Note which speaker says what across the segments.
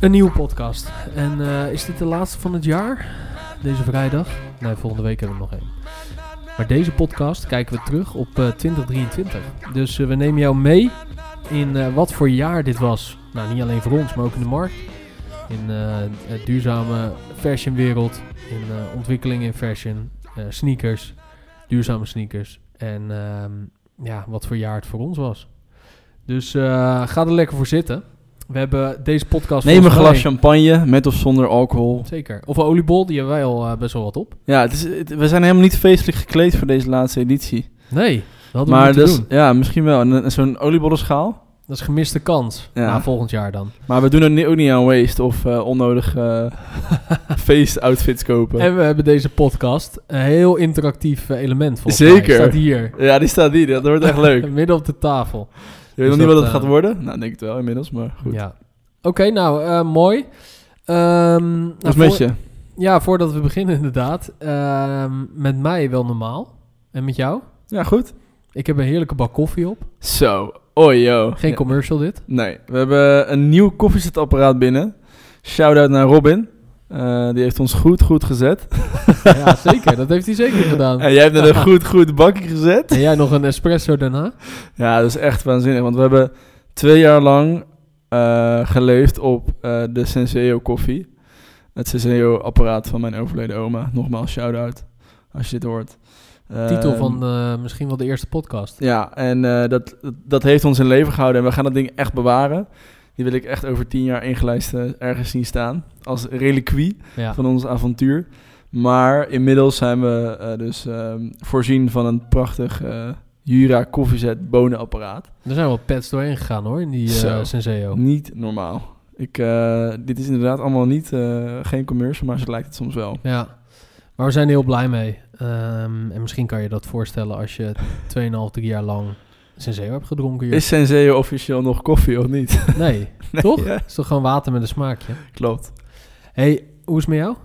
Speaker 1: Een nieuwe podcast. En eh, is dit de laatste van het jaar? Deze vrijdag? Nee, volgende week hebben we nog één. Maar deze podcast kijken we terug op eh, 2023. Dus eh, we nemen jou mee in eh, wat voor jaar dit was. Nou, niet alleen voor ons, maar ook in de markt. In eh, het duurzame fashionwereld. In eh, ontwikkeling in fashion. eh, sneakers. Duurzame sneakers. En ehm, ja, wat voor jaar het voor ons was. Dus eh, ga er lekker voor zitten. We hebben deze podcast...
Speaker 2: Neem een
Speaker 1: volgens mij-
Speaker 2: glas champagne, met of zonder alcohol.
Speaker 1: Zeker. Of een oliebol, die hebben wij al eh, best wel wat op.
Speaker 2: Ja, het is, het- we zijn helemaal niet feestelijk gekleed voor deze laatste editie.
Speaker 1: Nee, dat hadden we
Speaker 2: maar dus-
Speaker 1: moeten
Speaker 2: dat is-
Speaker 1: doen.
Speaker 2: ja, misschien wel. En, eh, zo'n oliebollenschaal.
Speaker 1: Dat is gemiste kans.
Speaker 2: Ja.
Speaker 1: Na volgend jaar dan.
Speaker 2: Maar we doen er ni- ook niet aan waste of eh, onnodig eh, feestoutfits kopen.
Speaker 1: En we hebben deze podcast een heel interactief eh, element volgens
Speaker 2: Zeker.
Speaker 1: mij. Staat hier.
Speaker 2: Ja, die staat hier. Dat wordt echt leuk. Je
Speaker 1: Midden op de tafel.
Speaker 2: weet nog
Speaker 1: Dus
Speaker 2: niet
Speaker 1: dat,
Speaker 2: wat het
Speaker 1: eh,
Speaker 2: gaat worden. Nou, denk het wel inmiddels, maar goed.
Speaker 1: Ja. Oké, nou, eh, mooi. Ehm, nou,
Speaker 2: Wat is
Speaker 1: voor-
Speaker 2: met je?
Speaker 1: Ja, voordat we beginnen inderdaad. Ehm, met mij wel normaal. En met jou?
Speaker 2: Ja, goed.
Speaker 1: Ik heb een heerlijke bak koffie op.
Speaker 2: Zo. Oi, yo.
Speaker 1: Geen
Speaker 2: Ja.
Speaker 1: commercial dit.
Speaker 2: Nee, we hebben een nieuw koffiezetapparaat binnen. Shout-out naar Robin. Eh, die heeft ons goed, goed gezet.
Speaker 1: ja, zeker. Dat heeft hij zeker gedaan.
Speaker 2: En jij hebt net een goed, goed bakje gezet.
Speaker 1: En jij nog een espresso daarna?
Speaker 2: Ja, dat is echt waanzinnig. Want we hebben twee jaar lang eh, geleefd op eh, de Senseo koffie. Het Senseo apparaat van mijn overleden oma. Nogmaals, shout-out als je dit hoort.
Speaker 1: Titel
Speaker 2: Ehm,
Speaker 1: van eh, misschien wel de eerste podcast.
Speaker 2: Ja, en eh, dat, dat- dat heeft ons in leven gehouden. En we gaan dat ding echt bewaren. Die wil ik echt over tien jaar ingelijst eh, ergens zien staan. Als reliquie
Speaker 1: Ja.
Speaker 2: van ons avontuur. Maar inmiddels zijn we eh, dus ehm, voorzien van een prachtig eh, Jura koffiezet bonenapparaat.
Speaker 1: Er zijn wel pads doorheen gegaan hoor, in die eh
Speaker 2: Zo. Mm.
Speaker 1: Senseo.
Speaker 2: Niet normaal. Ik, eh, dit is inderdaad allemaal niet, eh, geen commercial, maar zo lijkt het soms wel.
Speaker 1: Ja, maar we zijn er heel blij mee. Ehm, en misschien kan je dat voorstellen als je 2,5, 3 jaar lang Senseo hebt gedronken. joh.
Speaker 2: Is Senseo officieel nog koffie of niet?
Speaker 1: Nee, toch?
Speaker 2: ja.
Speaker 1: Het is toch gewoon water met een smaakje.
Speaker 2: Klopt.
Speaker 1: hey, hoe is het met jou?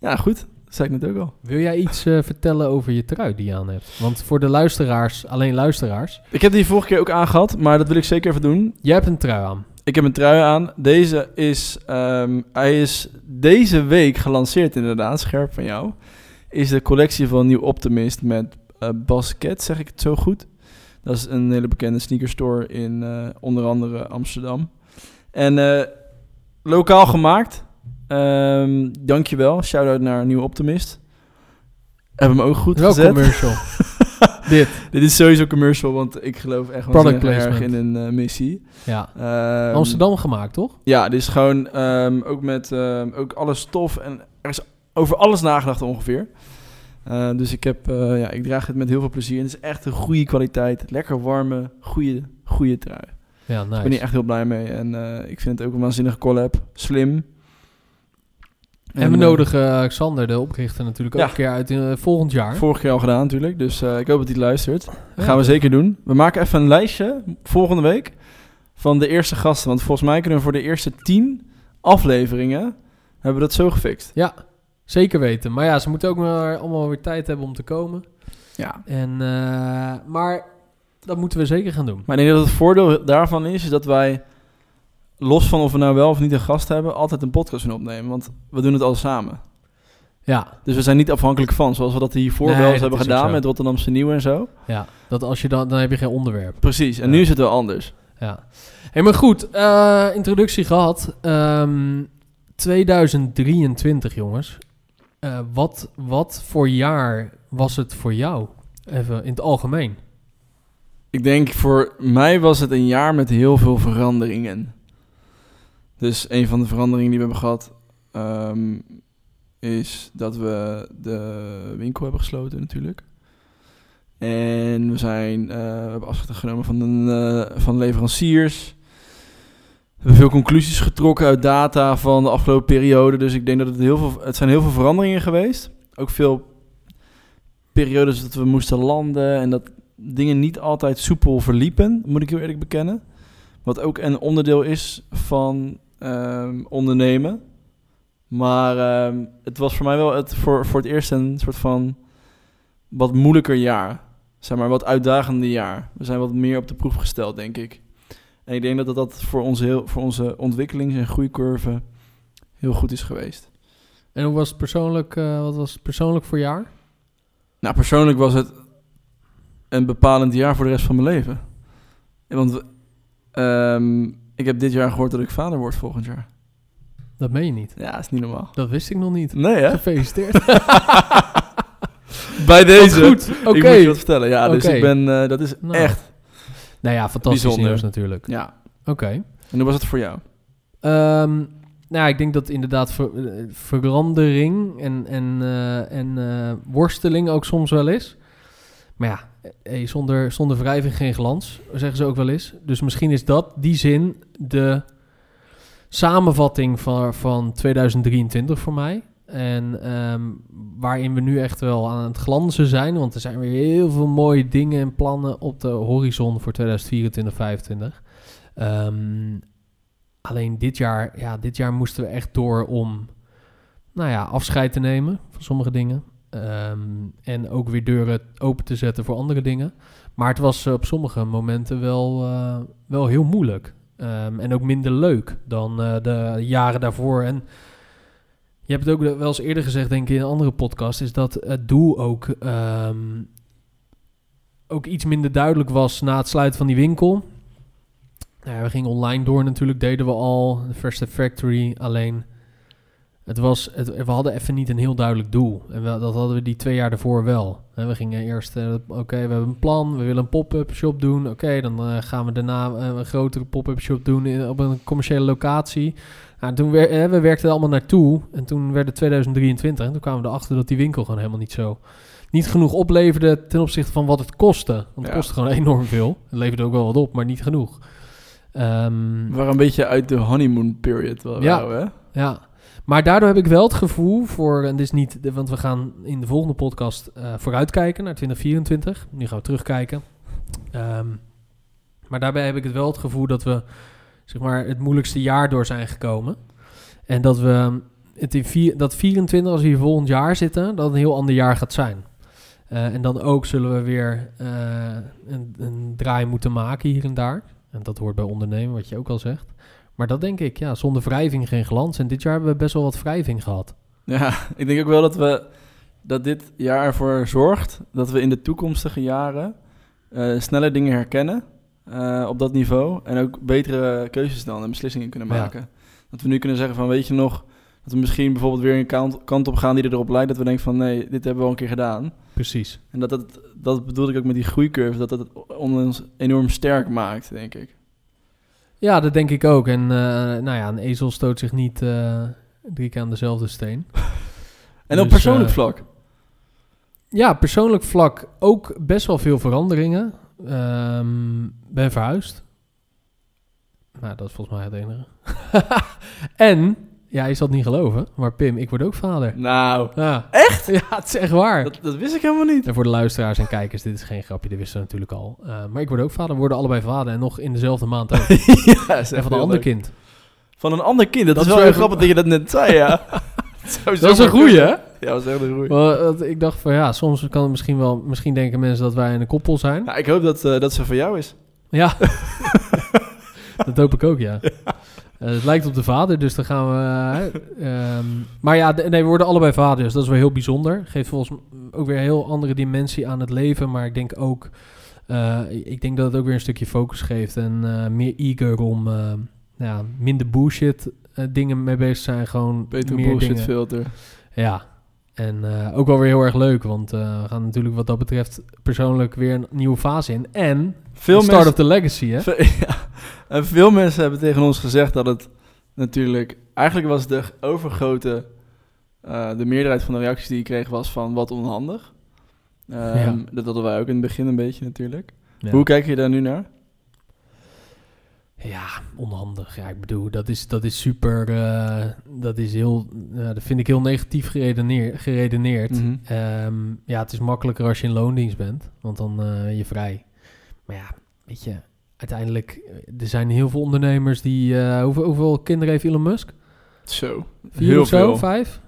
Speaker 2: Ja, goed. Dat zei ik net ook al.
Speaker 1: Wil jij iets eh, vertellen over je trui die je aan hebt? Want voor de luisteraars, alleen luisteraars,
Speaker 2: Ik heb die vorige keer ook aangehad, maar dat wil ik zeker even doen.
Speaker 1: jij hebt een trui aan.
Speaker 2: Ik heb een trui aan. Deze is, ehm, hij is deze week gelanceerd inderdaad, scherp van jou. Is de collectie van Nieuw Optimist met eh Basket, zeg ik het zo goed. Dat is een hele bekende sneakerstore in eh, onder andere Amsterdam. En eh, lokaal gemaakt. Ehm dankjewel. Shout-out naar Nieuw Optimist. Hebben hem ook goed
Speaker 1: Wel
Speaker 2: gezet.
Speaker 1: commercial. Dit,
Speaker 2: Dit is sowieso commercial, want ik geloof echt
Speaker 1: Product
Speaker 2: waanzinnig erg in
Speaker 1: placement.
Speaker 2: een eh, missie.
Speaker 1: ja.
Speaker 2: Ehm,
Speaker 1: Amsterdam gemaakt, toch?
Speaker 2: ja, dit is gewoon ehm, ook met ehm, ook alle stof en er is over alles nagedacht ongeveer. Eh, dus ik, heb, eh, ja, ik draag het met heel veel plezier. En het is echt een goede kwaliteit. Lekker warme, goede, goede trui.
Speaker 1: Ja,
Speaker 2: Ik ben hier
Speaker 1: nice.
Speaker 2: echt heel blij mee. En eh, ik vind het ook een waanzinnige collab. Slim.
Speaker 1: En we
Speaker 2: eh,
Speaker 1: nodigen eh, Xander, de oprichter, natuurlijk ook
Speaker 2: Ja.
Speaker 1: een keer uit in eh, volgend jaar.
Speaker 2: Vorig jaar al gedaan natuurlijk. Dus eh, ik hoop dat hij het luistert.
Speaker 1: Ja,
Speaker 2: gaan we
Speaker 1: dat-
Speaker 2: zeker doen. We maken even een lijstje volgende week van de eerste gasten. Want volgens mij kunnen we voor de eerste tien afleveringen... hebben we dat zo gefixt.
Speaker 1: Ja, zeker weten. Maar ja, ze moeten ook maar allemaal weer tijd hebben om te komen.
Speaker 2: Ja.
Speaker 1: En, eh, maar dat moeten we zeker gaan doen.
Speaker 2: Maar ik denk dat het voordeel daarvan is, is dat wij, los van of we nou wel of niet een gast hebben, altijd een podcast kunnen opnemen. Want we doen het al samen.
Speaker 1: Ja,
Speaker 2: Dus we zijn niet afhankelijk van, zoals we dat hiervoor
Speaker 1: Nee,
Speaker 2: wel eens
Speaker 1: dat
Speaker 2: hebben
Speaker 1: is ook
Speaker 2: gedaan
Speaker 1: zo.
Speaker 2: met Rotterdamse Nieuw en zo.
Speaker 1: ja. Dat als je dan, dan heb je geen onderwerp.
Speaker 2: Precies, en
Speaker 1: Ja.
Speaker 2: nu is het wel anders.
Speaker 1: Ja. Hey, maar goed, eh, introductie gehad. Ehm, 2023, jongens. Eh, wat, wat voor jaar was het voor jou? Even in het algemeen.
Speaker 2: Ik denk voor mij was het een jaar met heel veel veranderingen. Dus een van de veranderingen die we hebben gehad ehm, is dat we de winkel hebben gesloten natuurlijk. En we zijn eh, we hebben afscheid genomen van, een, eh, van leveranciers. We hebben veel conclusies getrokken uit data van de afgelopen periode. Dus ik denk dat het heel veel, het zijn heel veel veranderingen geweest. Ook veel periodes dat we moesten landen en dat dingen niet altijd soepel verliepen, moet ik heel eerlijk bekennen. Wat ook een onderdeel is van ehm, ondernemen. Maar ehm, het was voor mij wel het, voor, voor het eerst een soort van wat moeilijker jaar. Zeg maar, wat uitdagender jaar. We zijn wat meer op de proef gesteld, denk ik. En En ik denk dat dat, dat voor, ons heel, voor onze ontwikkelings- en groeicurve heel goed is geweest.
Speaker 1: En hoe was het persoonlijk, eh, wat was het persoonlijk voor jaar?
Speaker 2: Nou, persoonlijk was het een bepalend jaar voor de rest van mijn leven. En Want we- ehm, ik heb dit jaar gehoord dat ik vader word volgend jaar.
Speaker 1: Dat meen je niet.
Speaker 2: Ja, dat is niet normaal.
Speaker 1: Dat wist ik nog niet.
Speaker 2: Nee, hè?
Speaker 1: Gefeliciteerd.
Speaker 2: Bij deze.
Speaker 1: Wat Goed, oké.
Speaker 2: Ik moet je wat vertellen. Ja, dus
Speaker 1: Oké.
Speaker 2: ik ben... eh, dat is
Speaker 1: Nou,
Speaker 2: echt...
Speaker 1: Nou ja, fantastisch
Speaker 2: Bijzonder.
Speaker 1: nieuws natuurlijk.
Speaker 2: Ja.
Speaker 1: Oké.
Speaker 2: En hoe was het voor jou?
Speaker 1: Ehm, nou, ja, ik denk dat inderdaad ver- eh, verandering en, en, eh, en eh, worsteling ook soms wel is. Maar ja, eh, eh, zonder, zonder wrijving geen glans, zeggen ze ook wel eens. Dus misschien is dat die zin de samenvatting van, van 2023 voor mij. En ehm, waarin we nu echt wel aan het glanzen zijn. Want er zijn weer heel veel mooie dingen en plannen op de horizon voor 2024, 2025. Ehm, Alleen dit jaar, ja, dit jaar moesten we echt door om nou ja, afscheid te nemen van sommige dingen. Ehm, en ook weer deuren open te zetten voor andere dingen. Maar het was eh, op sommige momenten wel, eh, wel heel moeilijk. Ehm, en ook minder leuk dan eh, de jaren daarvoor. En je hebt het ook wel eens eerder gezegd, denk ik, in een andere podcast, is dat het doel ook, ehm, ook iets minder duidelijk was na het sluiten van die winkel. Nou ja, we gingen online door natuurlijk, deden we al. de First Step Factory, alleen... Het was, het, we hadden even niet een heel duidelijk doel. En we- dat hadden we die twee jaar daarvoor wel. Hè, we gingen eerst, eh, oké, we hebben een plan. We willen een pop-up shop doen. Oké, dan eh, gaan we daarna eh, een grotere pop-up shop doen in, op een commerciële locatie. Nou, toen wer- eh, we werkten er allemaal naartoe. En toen werd het 2023. En toen kwamen we erachter dat die winkel gewoon helemaal niet zo... Niet genoeg opleverde ten opzichte van wat het kostte. Want het
Speaker 2: Ja.
Speaker 1: kostte gewoon enorm veel. Het leverde ook wel wat op, maar niet genoeg. Ehm,
Speaker 2: We waren een beetje uit de honeymoon period. Wel,
Speaker 1: Ja.
Speaker 2: ja. Hè?
Speaker 1: ja, maar daardoor heb ik wel het gevoel voor, en dit is niet, want we gaan in de volgende podcast eh, vooruitkijken naar 2024. Nu gaan we terugkijken. Ehm, maar daarbij heb ik het wel het gevoel dat we, zeg maar, het moeilijkste jaar door zijn gekomen. En dat we het in vier, dat 24, als we hier volgend jaar zitten, dat het een heel ander jaar gaat zijn. Eh, en dan ook zullen we weer eh, een, een draai moeten maken hier en daar. En dat hoort bij ondernemen, wat je ook al zegt. Maar dat denk ik, ja, zonder wrijving geen glans. En dit jaar hebben we best wel wat wrijving gehad.
Speaker 2: Ja, ik denk ook wel dat we dat dit jaar ervoor zorgt dat we in de toekomstige jaren eh, sneller dingen herkennen eh, op dat niveau en ook betere keuzes dan en beslissingen kunnen
Speaker 1: Ja.
Speaker 2: maken. Dat we nu kunnen zeggen van weet je nog dat we misschien bijvoorbeeld weer een kant, kant op gaan die erop leidt dat we denken van nee, dit hebben we al een keer gedaan.
Speaker 1: Precies.
Speaker 2: En dat, dat, dat bedoelde ik ook met die groeicurve, dat dat het ons enorm sterk maakt, denk ik.
Speaker 1: Ja, dat denk ik ook. En eh, nou ja, een ezel stoot zich niet eh, drie keer aan dezelfde steen.
Speaker 2: En op
Speaker 1: Dus,
Speaker 2: persoonlijk
Speaker 1: eh,
Speaker 2: vlak.
Speaker 1: Ja, persoonlijk vlak ook best wel veel veranderingen. Ehm, ben verhuisd. Nou, dat is volgens mij het enige. en, ja, je zal het niet geloven, maar Pim, ik word ook vader.
Speaker 2: Nou,
Speaker 1: Echt? Ja, het is echt waar.
Speaker 2: dat, dat wist ik helemaal niet.
Speaker 1: En voor de luisteraars en kijkers, dit is geen grapje, dit wisten we natuurlijk al. Eh, maar ik word ook vader, we worden allebei vader en nog in dezelfde maand ook.
Speaker 2: ja, is
Speaker 1: en
Speaker 2: echt
Speaker 1: van een
Speaker 2: heel
Speaker 1: ander
Speaker 2: leuk.
Speaker 1: kind.
Speaker 2: Van een ander kind. Dat,
Speaker 1: Dat
Speaker 2: is
Speaker 1: is
Speaker 2: wel
Speaker 1: wel
Speaker 2: heel grappig dat je dat net zei, ja.
Speaker 1: Dat is een goeie, hè?
Speaker 2: Ja, dat is echt een goeie.
Speaker 1: Wel, dat- ik dacht van ja, soms kan het misschien wel, misschien denken mensen dat wij een koppel zijn.
Speaker 2: Nou, ik hoop dat, eh, dat ze van jou is.
Speaker 1: Ja, dat hoop ik ook, ja. Eh, het lijkt op de vader, dus dan gaan we. eh, ehm, maar ja, de- nee, we worden allebei vaders. dat is wel heel bijzonder. Geeft volgens mij ook weer een heel andere dimensie aan het leven. Maar ik denk ook. eh, ik denk dat het ook weer een stukje focus geeft. En eh, meer eager om. eh, nou ja, minder bullshit eh, dingen mee bezig zijn. Gewoon
Speaker 2: Beter
Speaker 1: meer
Speaker 2: bullshit
Speaker 1: dingen.
Speaker 2: filter.
Speaker 1: Ja, en eh, ook wel weer heel erg leuk, want eh, we gaan natuurlijk wat dat betreft persoonlijk weer een nieuwe fase in. En
Speaker 2: Veel
Speaker 1: de Start
Speaker 2: mensen,
Speaker 1: of the Legacy, hè?
Speaker 2: Ve- ja. En veel mensen hebben tegen ons gezegd dat het natuurlijk... Eigenlijk was de overgrote... eh, de meerderheid van de reacties die ik kreeg was van wat onhandig. Ehm,
Speaker 1: Ja.
Speaker 2: Dat hadden wij ook in het begin een beetje natuurlijk. Hoe kijk je daar nu naar?
Speaker 1: Ja, onhandig. Ja, ik bedoel, dat is, dat is super, eh, dat is heel, ja, dat vind ik heel negatief geredeneer, geredeneerd.
Speaker 2: Mhm.
Speaker 1: Ehm, ja, het is makkelijker als je in loondienst bent, want dan eh, ben je vrij. Maar ja, weet je, uiteindelijk, eh, er zijn heel veel ondernemers die, eh, hoeveel, hoeveel kinderen heeft Elon Musk?
Speaker 2: Zo.
Speaker 1: Vier
Speaker 2: Heel
Speaker 1: of zo?
Speaker 2: veel.
Speaker 1: Vijf?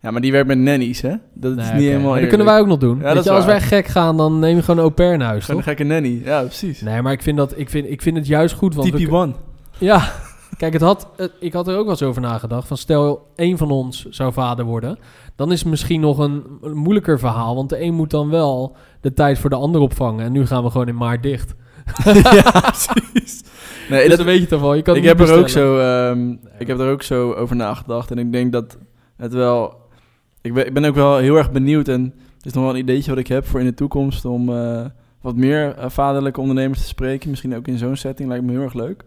Speaker 2: Ja, maar die werd met nannies, hè? Dat
Speaker 1: Nee,
Speaker 2: is niet
Speaker 1: oké.
Speaker 2: helemaal
Speaker 1: Maar
Speaker 2: eerlijk.
Speaker 1: Dat kunnen wij ook nog doen.
Speaker 2: Ja,
Speaker 1: Weet
Speaker 2: dat is
Speaker 1: je, als
Speaker 2: waar.
Speaker 1: wij gek gaan, dan neem je gewoon een au pair naar huis,
Speaker 2: Gewoon
Speaker 1: toch?
Speaker 2: een gekke nanny. Ja, precies.
Speaker 1: Nee, maar ik vind, dat, ik, vind, ik vind het juist goed. Want we
Speaker 2: TP1.
Speaker 1: Ja, kijk, het had, het- ik had er ook wel eens over nagedacht. Van stel, één van ons zou vader worden. Dan is het misschien nog een, een moeilijker verhaal. Want de een moet dan wel de tijd voor de ander opvangen. En nu gaan we gewoon in maart dicht.
Speaker 2: ja, precies. Nee,
Speaker 1: Dus
Speaker 2: dat,
Speaker 1: dat weet je toch wel. Je kan
Speaker 2: ik,
Speaker 1: het
Speaker 2: heb
Speaker 1: niet
Speaker 2: er ook
Speaker 1: bestellen.
Speaker 2: zo, ehm, ik heb er ook zo over nagedacht. En ik denk dat het wel... Ik ben, ik ben ook wel heel erg benieuwd. En het is nog wel een ideetje wat ik heb voor in de toekomst... om eh, wat meer eh, vaderlijke ondernemers te spreken. Misschien ook in zo'n setting. Lijkt me heel erg leuk.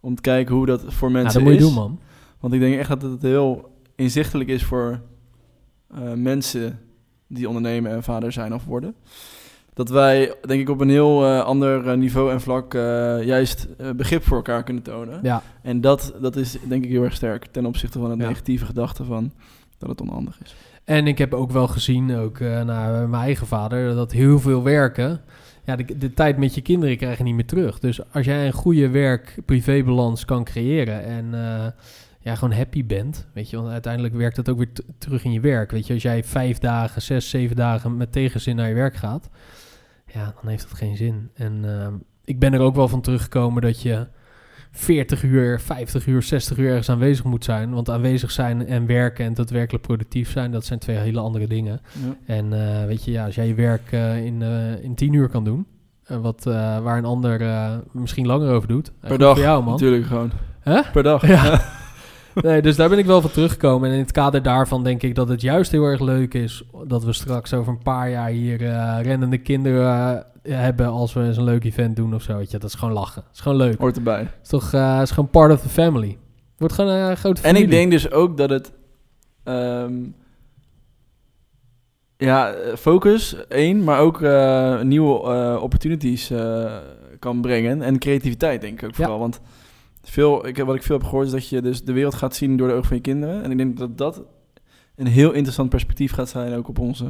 Speaker 2: Om te kijken hoe dat voor
Speaker 1: Ja,
Speaker 2: mensen
Speaker 1: Nou, dat moet je
Speaker 2: is.
Speaker 1: doen, man.
Speaker 2: Want ik denk echt dat het heel inzichtelijk is voor eh, mensen die ondernemen en vader zijn of worden. Dat wij, denk ik, op een heel eh, ander eh, niveau en vlak eh, juist eh, begrip voor elkaar kunnen tonen.
Speaker 1: Ja.
Speaker 2: En dat, dat is, denk ik, heel erg sterk ten opzichte van het
Speaker 1: Ja.
Speaker 2: negatieve gedachte van dat het onhandig is.
Speaker 1: En ik heb ook wel gezien, ook eh, naar mijn eigen vader, dat heel veel werken. Ja, de, de tijd met je kinderen krijg je niet meer terug. Dus als jij een goede werk-privébalans kan creëren en eh, ja, gewoon happy bent, weet je, want uiteindelijk werkt dat ook weer t- terug in je werk. Weet je, als jij vijf dagen, zes, zeven dagen met tegenzin naar je werk gaat, ja, dan heeft dat geen zin. En eh, ik ben er ook wel van teruggekomen dat je 40 uur, 50 uur, 60 uur ergens aanwezig moet zijn. Want aanwezig zijn en werken en daadwerkelijk productief zijn, dat zijn twee hele andere dingen.
Speaker 2: Ja.
Speaker 1: En eh, weet je, ja, als jij je werk eh, in, eh, in 10 uur kan doen, eh, wat, eh, waar een ander eh, misschien langer over doet. eh,
Speaker 2: Per
Speaker 1: goed
Speaker 2: dag,
Speaker 1: Voor jou, man.
Speaker 2: natuurlijk gewoon.
Speaker 1: Huh?
Speaker 2: Per dag.
Speaker 1: Ja. Nee, dus daar ben ik wel van teruggekomen. En in het kader daarvan denk ik dat het juist heel erg leuk is dat we straks over een paar jaar hier eh, rennende kinderen eh, hebben als we eens een leuk event doen of zo. Weet je, dat is gewoon lachen. Dat is gewoon leuk.
Speaker 2: Hoort erbij.
Speaker 1: is toch eh, is gewoon part of the family. Wordt gewoon een eh, grote
Speaker 2: En
Speaker 1: familie.
Speaker 2: ik denk dus ook dat het. ehm, ja, eh, focus één, maar ook eh, nieuwe eh, opportunities eh, kan brengen. En creativiteit, denk ik ook vooral. Want veel, ik, heb- wat ik veel heb gehoord is dat je dus de wereld gaat zien door de ogen van je kinderen. En ik denk dat dat een heel interessant perspectief gaat zijn ook op onze,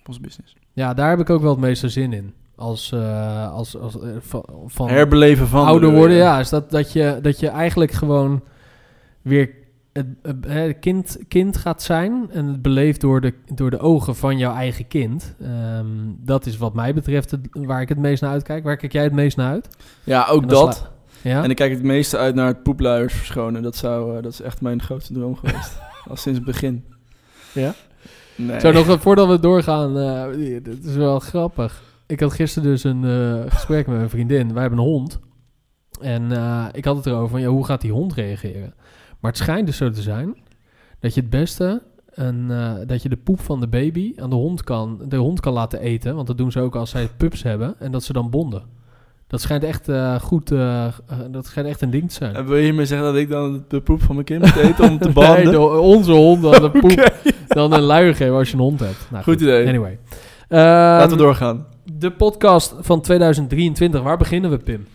Speaker 2: op onze business.
Speaker 1: Ja, daar heb ik ook wel het meeste zin in. Als, eh, als, als eh, van, van
Speaker 2: Herbeleven van. eh,
Speaker 1: ouder
Speaker 2: bedoel
Speaker 1: worden,
Speaker 2: je?
Speaker 1: ja. Is dat, dat, je, dat je eigenlijk gewoon weer het, eh, eh, kind, kind gaat zijn. En het beleefd door de, door de ogen van jouw eigen kind. Ehm, dat is wat mij betreft het, waar ik het meest naar uitkijk. Waar kijk jij het meest naar uit?
Speaker 2: Ja, ook
Speaker 1: En dan
Speaker 2: dat.
Speaker 1: sla- Ja?
Speaker 2: En ik kijk het meeste uit naar het poepluiers verschonen. Dat, zou, eh, dat is echt mijn grootste droom geweest. Al sinds het begin.
Speaker 1: Ja?
Speaker 2: Nee.
Speaker 1: Zo, nog eh, voordat we doorgaan, eh dit is wel grappig. Ik had gisteren dus een eh, gesprek met mijn vriendin. Wij hebben een hond. En eh, ik had het erover van, ja, hoe gaat die hond reageren? Maar het schijnt dus zo te zijn dat je het beste, een, eh, dat je de poep van de baby aan de hond kan, de hond kan laten eten. Want dat doen ze ook als zij pups hebben en dat ze dan bonden. Dat schijnt echt eh, goed, eh, eh, dat schijnt echt een ding te zijn.
Speaker 2: En wil je hiermee zeggen dat ik dan de poep van mijn kind moet eten om te banden?
Speaker 1: Nee, de- onze hond dan de poep,
Speaker 2: Oké.
Speaker 1: dan een luier geven als je een hond hebt. Nou,
Speaker 2: Goed idee.
Speaker 1: Anyway.
Speaker 2: Laten
Speaker 1: Ehm,
Speaker 2: we doorgaan.
Speaker 1: de podcast van 2023, waar beginnen we, Pim?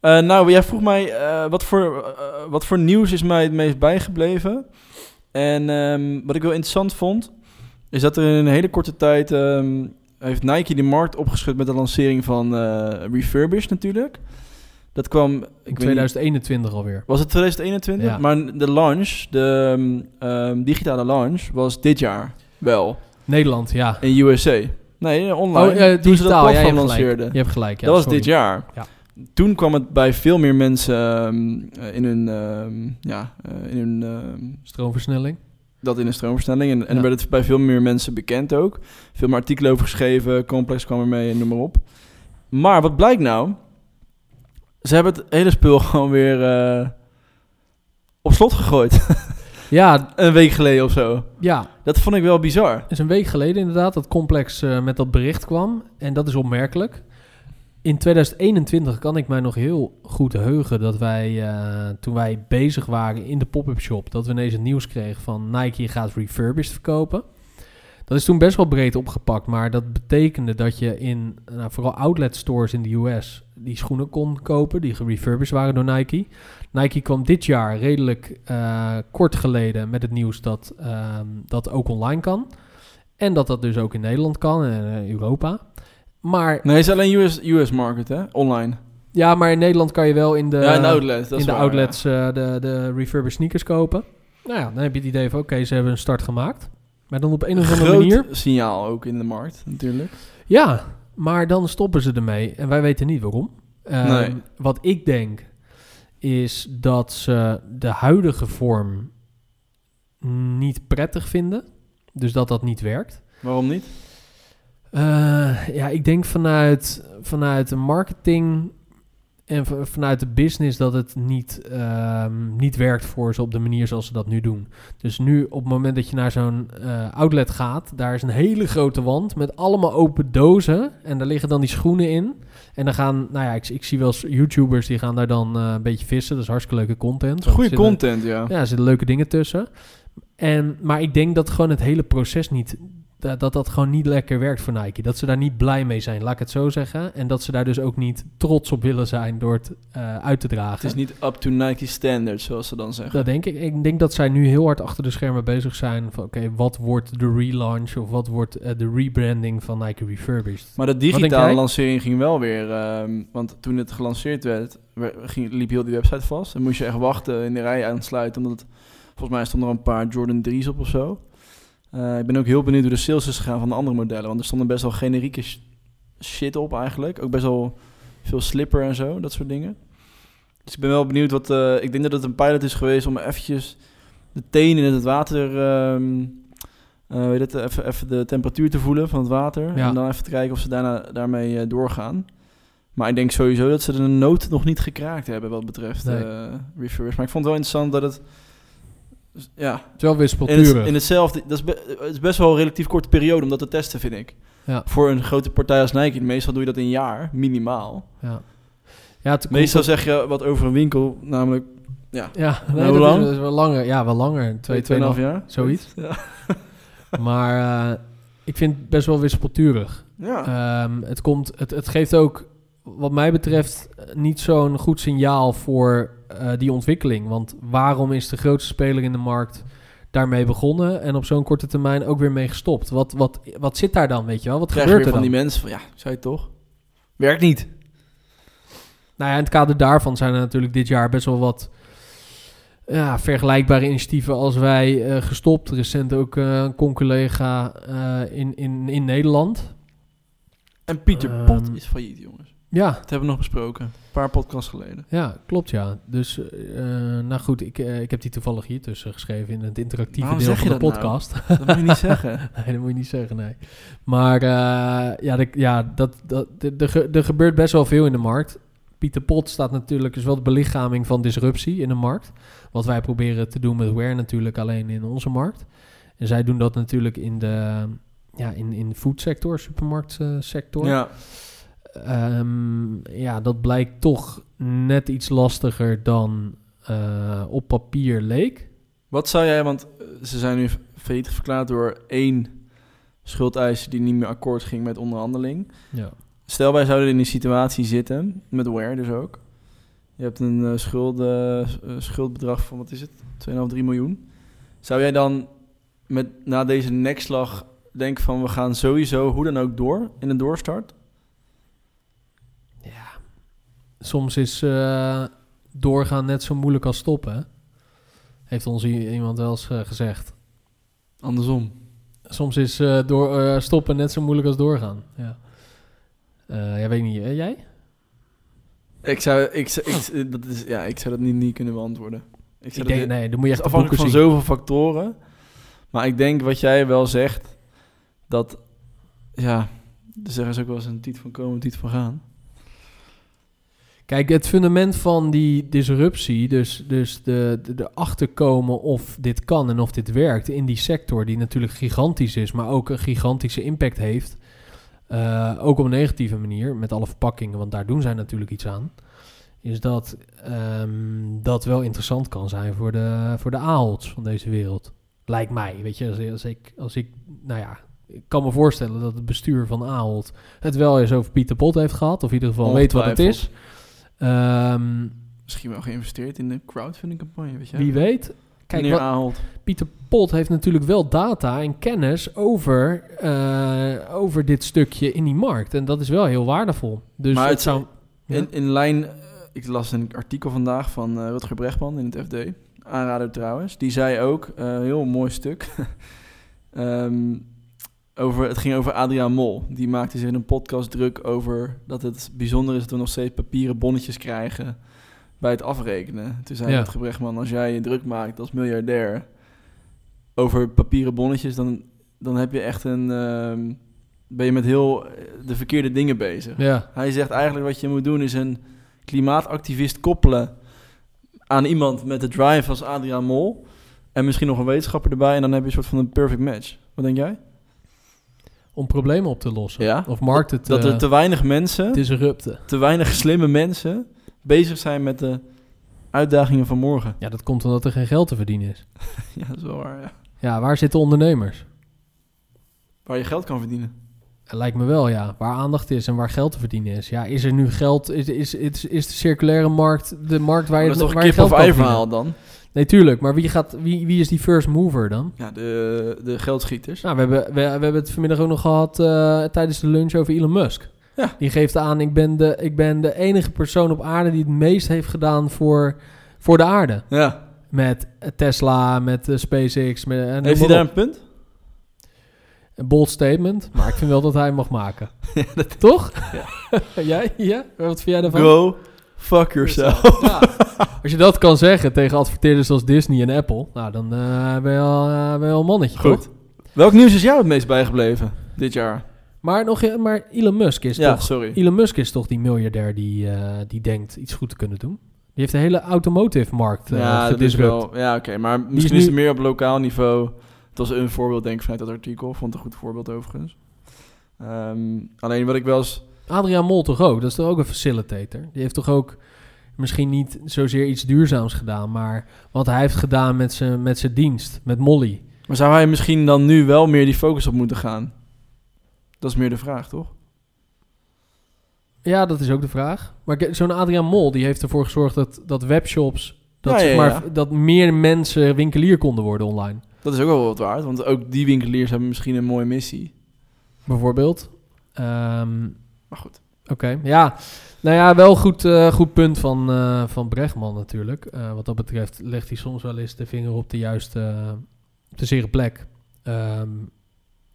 Speaker 2: Eh, nou, jij vroeg mij eh, wat, voor, eh, wat voor nieuws is mij het meest bijgebleven. En ehm, wat ik wel interessant vond, is dat er in een hele korte tijd ehm, heeft Nike de markt opgeschud met de lancering van eh Refurbished natuurlijk. Dat kwam ik weet
Speaker 1: In
Speaker 2: niet-
Speaker 1: 2021 alweer.
Speaker 2: Was het 2021?
Speaker 1: Ja.
Speaker 2: Maar de launch, de ehm, ehm, digitale launch, was dit jaar wel
Speaker 1: Nederland, ja.
Speaker 2: in USA. Nee, online.
Speaker 1: Oh, eh,
Speaker 2: toen ze dat
Speaker 1: digitaal, ja, je
Speaker 2: platform
Speaker 1: hebt gelijk.
Speaker 2: lanceerden.
Speaker 1: Je hebt gelijk, ja.
Speaker 2: dat was
Speaker 1: sorry.
Speaker 2: dit jaar.
Speaker 1: Ja.
Speaker 2: Toen kwam het bij veel meer mensen ehm, eh, in hun, ehm, ja, eh, in hun ehm,
Speaker 1: Stroomversnelling.
Speaker 2: dat in een stroomversnelling. En, en
Speaker 1: Ja.
Speaker 2: werd het bij veel meer mensen bekend ook. Veel meer artikelen over geschreven. Complex kwam ermee en noem maar op. Maar wat blijkt nou? Ze hebben het hele spul gewoon weer eh, op slot gegooid.
Speaker 1: Ja,
Speaker 2: een week geleden of zo.
Speaker 1: ja.
Speaker 2: Dat vond ik wel bizar.
Speaker 1: is een week geleden inderdaad dat Complex eh, met dat bericht kwam. En dat is opmerkelijk. In 2021 kan ik mij nog heel goed heugen dat wij, eh, toen wij bezig waren in de pop-up shop, dat we ineens het nieuws kregen van Nike gaat refurbished verkopen. Dat is toen best wel breed opgepakt, maar dat betekende dat je in nou, vooral outlet stores in de US die schoenen kon kopen die gerefurbished waren door Nike. Nike kwam dit jaar redelijk eh, kort geleden met het nieuws dat ehm, dat ook online kan. En dat dat dus ook in Nederland kan en eh, Europa. Maar
Speaker 2: Nee, het is alleen US, US market, hè? Online.
Speaker 1: ja, maar in Nederland kan je wel in de,
Speaker 2: ja, in de outlets. Dat
Speaker 1: in
Speaker 2: is
Speaker 1: de eh,
Speaker 2: waar,
Speaker 1: outlets eh, de, de refurbished sneakers kopen. Nou ja, dan heb je het idee van oké, ze hebben een start gemaakt. Maar dan op een
Speaker 2: Een
Speaker 1: of
Speaker 2: groot
Speaker 1: andere manier.
Speaker 2: signaal ook in de markt, natuurlijk.
Speaker 1: Ja, maar dan stoppen ze ermee en wij weten niet waarom. Ehm,
Speaker 2: Nee.
Speaker 1: Wat ik denk is dat ze de huidige vorm niet prettig vinden. Dus dat dat niet werkt.
Speaker 2: Waarom niet?
Speaker 1: Eh, ja, ik denk vanuit, vanuit de marketing en v- vanuit de business dat het niet, ehm, niet werkt voor ze op de manier zoals ze dat nu doen. Dus nu op het moment dat je naar zo'n eh, outlet gaat, daar is een hele grote wand met allemaal open dozen en daar liggen dan die schoenen in. En dan gaan, nou ja, ik, ik zie wel eens YouTubers die gaan daar dan eh, een beetje vissen. Dat is hartstikke leuke content. Want
Speaker 2: Goede
Speaker 1: er zitten-
Speaker 2: content, ja.
Speaker 1: ja, er zitten leuke dingen tussen. En, maar ik denk dat gewoon het hele proces niet... Dat, dat dat gewoon niet lekker werkt voor Nike. Dat ze daar niet blij mee zijn, laat ik het zo zeggen. En dat ze daar dus ook niet trots op willen zijn door het eh, uit te
Speaker 2: Het
Speaker 1: dragen.
Speaker 2: is niet up to Nike standards, zoals ze dan zeggen.
Speaker 1: Dat denk ik. Ik denk dat zij nu heel hard achter de schermen bezig zijn van... Oké, wat wordt de relaunch of wat wordt eh, de rebranding van Nike Refurbished?
Speaker 2: Maar de
Speaker 1: Wat denk
Speaker 2: digitale
Speaker 1: jij?
Speaker 2: lancering ging wel weer. ehm, want toen het gelanceerd werd, we- ging, liep heel die website vast. Dan moest je echt wachten in de rij aansluiten. Omdat het- volgens mij stonden er een paar Jordan 3's op of zo. Eh, ik ben ook heel benieuwd hoe de sales is gegaan van de andere modellen. Want er stonden best wel generieke sh- shit op eigenlijk. Ook best wel veel slipper en zo, dat soort dingen. Dus ik ben wel benieuwd wat... eh, ik denk dat het een pilot is geweest om eventjes de tenen in het water... ehm, eh, weet het, even, even de temperatuur te voelen van het water.
Speaker 1: Ja.
Speaker 2: En dan even te kijken of ze daarna, daarmee eh, doorgaan. Maar ik denk sowieso dat ze de nood nog niet gekraakt hebben wat betreft eh
Speaker 1: Nee.
Speaker 2: refurbished. Maar ik vond het wel interessant dat het... Ja,
Speaker 1: Het is wel weer
Speaker 2: in, het-
Speaker 1: spulturig.
Speaker 2: in hetzelfde, dat is, be- het is best wel een relatief korte periode om dat te testen, vind ik.
Speaker 1: Ja.
Speaker 2: Voor een grote partij als Nike, meestal doe je dat in een jaar, minimaal.
Speaker 1: Ja, ja het komt
Speaker 2: Meestal zeg je wat over een winkel, namelijk
Speaker 1: Ja, nee,
Speaker 2: hoe
Speaker 1: dat is-
Speaker 2: lang?
Speaker 1: dat is wel langer. Ja, wel langer. Twee,
Speaker 2: 2,
Speaker 1: twee,
Speaker 2: 2,5 jaar.
Speaker 1: Zoiets.
Speaker 2: Ja.
Speaker 1: Maar eh, ik vind het best wel weer spulturig.
Speaker 2: Ja.
Speaker 1: Ehm, het, komt, het, het geeft ook, wat mij betreft, eh, niet zo'n goed signaal voor eh, die ontwikkeling. Want waarom is de grootste speler in de markt daarmee begonnen en op zo'n korte termijn ook weer mee gestopt? Wat, wat, wat zit daar dan, weet je wel? Wat
Speaker 2: krijg je
Speaker 1: gebeurt
Speaker 2: weer
Speaker 1: er
Speaker 2: van
Speaker 1: dan?
Speaker 2: die mensen van, ja, ik zei het toch. Werkt niet.
Speaker 1: Nou ja, in het kader daarvan zijn er natuurlijk dit jaar best wel wat ja, vergelijkbare initiatieven als wij eh, gestopt. Recent ook eh, een con-collega eh, in, in, in Nederland.
Speaker 2: En Pieter
Speaker 1: Ehm,
Speaker 2: Pot is failliet, jongens.
Speaker 1: Ja,
Speaker 2: Dat hebben we nog besproken, een paar podcasts geleden.
Speaker 1: ja, klopt ja. Dus, eh, nou goed, ik, eh, ik heb die toevallig hier tussen geschreven in het interactieve
Speaker 2: Waarom
Speaker 1: deel
Speaker 2: zeg
Speaker 1: van
Speaker 2: je
Speaker 1: de
Speaker 2: dat nou?
Speaker 1: podcast.
Speaker 2: Dat moet je niet zeggen.
Speaker 1: nee, dat moet je niet zeggen, nee. Maar eh, ja, de, ja dat, dat, de- de ge- er gebeurt best wel veel in de markt. Pieter Pot staat natuurlijk, is wel de belichaming van disruptie in de markt. Wat wij proberen te doen met Wear natuurlijk alleen in onze markt. En zij doen dat natuurlijk in de, ja, in, in de foodsector, supermarktsector.
Speaker 2: Ja,
Speaker 1: Ehm, ja, dat blijkt toch net iets lastiger dan eh, op papier leek.
Speaker 2: Wat zou jij, want eh, ze zijn nu failliet verklaard door één schuldeiser die niet meer akkoord ging met onderhandeling.
Speaker 1: Ja.
Speaker 2: Stel wij zouden in die situatie zitten, met Ware dus ook. Je hebt een eh, schuld, eh, s- eh, schuldbedrag van, wat is het, 2,5, 3 miljoen. Zou jij dan met, na deze nekslag denken van we gaan sowieso hoe dan ook door in een doorstart?
Speaker 1: Ja. Soms is eh, doorgaan net zo moeilijk als stoppen. hè? Heeft ons i- iemand wel eens eh, gezegd.
Speaker 2: Andersom.
Speaker 1: Soms is eh, door, eh, stoppen net zo moeilijk als doorgaan. Ja, Eh, ja weet ik niet. Eh, jij?
Speaker 2: Ik zou, ik, zou- ik, eh, dat is, ja, ik zou dat niet, niet kunnen beantwoorden. Ik, zou
Speaker 1: Ik
Speaker 2: dat-
Speaker 1: denk, nee, dan moet je echt
Speaker 2: Het
Speaker 1: de
Speaker 2: is afhankelijk
Speaker 1: boeken
Speaker 2: van
Speaker 1: zien.
Speaker 2: zoveel factoren. Maar ik denk wat jij wel zegt, dat, ja, er zeggen ze ook wel eens een tiet van komen, een tiet van gaan.
Speaker 1: Kijk, het fundament van die disruptie, dus, dus de, de, de achterkomen of dit kan en of dit werkt in die sector, die natuurlijk gigantisch is, maar ook een gigantische impact heeft. eh, ook op een negatieve manier, met alle verpakkingen, want daar doen zij natuurlijk iets aan. Is dat ehm, dat wel interessant kan zijn voor de, voor de AOL's van deze wereld. Lijkt mij, weet je, als, als ik, als ik, nou ja, ik kan me voorstellen dat het bestuur van AOLT het wel eens over Pieter Pot heeft gehad, of in ieder geval weet wat het
Speaker 2: Ongetwijfeld.
Speaker 1: is. Ehm,
Speaker 2: Misschien wel geïnvesteerd in de crowdfunding campagne, weet je.
Speaker 1: Wie weet. Kijk,
Speaker 2: Meneer
Speaker 1: wat,
Speaker 2: Ahold.
Speaker 1: Pieter Pot heeft natuurlijk wel data en kennis over, eh, over dit stukje in die markt. En dat is wel heel waardevol. Dus
Speaker 2: Maar
Speaker 1: het,
Speaker 2: het-
Speaker 1: zou... Ja?
Speaker 2: In, in lijn, eh, ik las een artikel vandaag van eh, Rutger Brechtman in het FD, aanrader trouwens. Die zei ook, eh, heel mooi stuk, Ehm, over, het ging over Adriaan Mol. Die maakte zich in een podcast druk over dat het bijzonder is dat we nog steeds papieren bonnetjes krijgen bij het afrekenen. Toen zei
Speaker 1: Ja.
Speaker 2: het Gebrechtman, als jij je druk maakt als miljardair over papieren bonnetjes, dan, dan heb je echt een, ehm, ben je met heel eh, de verkeerde dingen bezig.
Speaker 1: Ja,
Speaker 2: Hij zegt eigenlijk wat je moet doen is een klimaatactivist koppelen aan iemand met de drive als Adriaan Mol. En misschien nog een wetenschapper erbij. En dan heb je een soort van een perfect match. Wat denk jij?
Speaker 1: om problemen op te lossen.
Speaker 2: Ja.
Speaker 1: Of markt het...
Speaker 2: Dat
Speaker 1: eh,
Speaker 2: er te weinig mensen,
Speaker 1: disrupten.
Speaker 2: te weinig slimme mensen bezig zijn met de uitdagingen van morgen.
Speaker 1: Ja, dat komt omdat er geen geld te verdienen is.
Speaker 2: Ja, dat is wel waar. Ja.
Speaker 1: Ja, waar zitten ondernemers?
Speaker 2: Waar je geld kan verdienen.
Speaker 1: Eh, Lijkt me wel, ja. Waar aandacht is en waar geld te verdienen is. Ja, is er nu geld... Is, is, is, is de circulaire markt de markt waar
Speaker 2: Maar
Speaker 1: je,
Speaker 2: Oh, dat is toch
Speaker 1: waar
Speaker 2: een
Speaker 1: je
Speaker 2: kip of
Speaker 1: geld kan
Speaker 2: ei
Speaker 1: verdienen?
Speaker 2: verhaal dan?
Speaker 1: Nee, tuurlijk. Maar wie, gaat, wie, wie is die first mover dan?
Speaker 2: Ja, de, de geldschieters.
Speaker 1: Nou, we hebben, we, we hebben het vanmiddag ook nog gehad eh, tijdens de lunch over Elon Musk.
Speaker 2: Ja.
Speaker 1: Die geeft aan, ik ben, de, ik ben de enige persoon op aarde die het meest heeft gedaan voor, voor de aarde.
Speaker 2: Ja.
Speaker 1: Met eh, Tesla, met eh, SpaceX. Met, en
Speaker 2: Heeft hij daar een punt?
Speaker 1: Een bold statement, maar ik vind wel dat hij hem mag maken. Toch? jij? Ja? Wat vind jij daarvan?
Speaker 2: Go fuck yourself.
Speaker 1: Ja. Als je dat kan zeggen tegen adverteerders als Disney en Apple, nou dan eh, ben, je al, eh, ben je al een mannetje.
Speaker 2: Goed.
Speaker 1: toch?
Speaker 2: Welk nieuws is jou het meest bijgebleven dit jaar?
Speaker 1: Maar, nog, eh, maar Elon Musk is
Speaker 2: ja,
Speaker 1: toch
Speaker 2: sorry.
Speaker 1: Elon Musk is toch die miljardair die, eh, die denkt iets goed te kunnen doen? Die heeft de hele automotive markt eh
Speaker 2: Ja, dat is
Speaker 1: gedisrupt.
Speaker 2: wel. Ja, oké. Maar misschien is
Speaker 1: nu-
Speaker 2: het meer op lokaal niveau. Het was een voorbeeld, denk ik, vanuit dat artikel. Vond het een goed voorbeeld overigens. Ehm, alleen wat ik wel eens.
Speaker 1: Adriaan Mol toch ook? Dat is toch ook een facilitator? Die heeft toch ook misschien niet zozeer iets duurzaams gedaan, maar wat hij heeft gedaan met zijn met zijn dienst, met Molly.
Speaker 2: Maar zou hij misschien dan nu wel meer die focus op moeten gaan? Dat is meer de vraag, toch?
Speaker 1: Ja, dat is ook de vraag. Maar ik- zo'n Adriaan Mol die heeft ervoor gezorgd dat, dat webshops, dat,
Speaker 2: Ja,
Speaker 1: zeg
Speaker 2: ja,
Speaker 1: maar,
Speaker 2: ja.
Speaker 1: dat meer mensen winkelier konden worden online.
Speaker 2: Dat is ook wel wat waard. Want ook die winkeliers hebben misschien een mooie missie.
Speaker 1: Bijvoorbeeld. Ehm,
Speaker 2: Maar goed.
Speaker 1: Oké, ja. Nou ja, wel goed, eh, goed punt van, eh, van Bregman natuurlijk. Eh, wat dat betreft legt hij soms wel eens de vinger op de juiste, eh, op de zere plek. Ehm,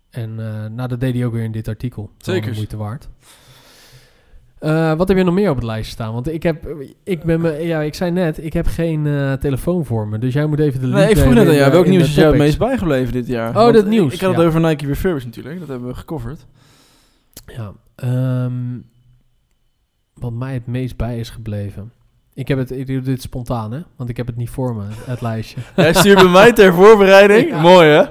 Speaker 1: en eh, nou, dat deed hij ook weer in dit artikel. Wel
Speaker 2: Zekers.
Speaker 1: de moeite waard. Eh, wat heb je nog meer op het lijstje staan? Want ik heb, ik ben me, ja, ik zei net, ik heb geen eh, telefoon voor me. Dus jij moet even de link
Speaker 2: Nee, ik vroeg
Speaker 1: nemen
Speaker 2: net aan
Speaker 1: in
Speaker 2: jou.
Speaker 1: de-
Speaker 2: Welk
Speaker 1: in
Speaker 2: nieuws
Speaker 1: de
Speaker 2: is jou het
Speaker 1: topics.
Speaker 2: meest bijgebleven dit jaar?
Speaker 1: Oh, dat
Speaker 2: ik-
Speaker 1: nieuws,
Speaker 2: Ik had het
Speaker 1: ja.
Speaker 2: over Nike Refurbished natuurlijk. Dat hebben we gecoverd.
Speaker 1: Ja, ehm, wat mij het meest bij is gebleven. Ik heb het, ik doe dit spontaan, hè? Want ik heb het niet voor me, het lijstje.
Speaker 2: Hij stuurt bij mij ter voorbereiding.
Speaker 1: Ja.
Speaker 2: Mooi hè?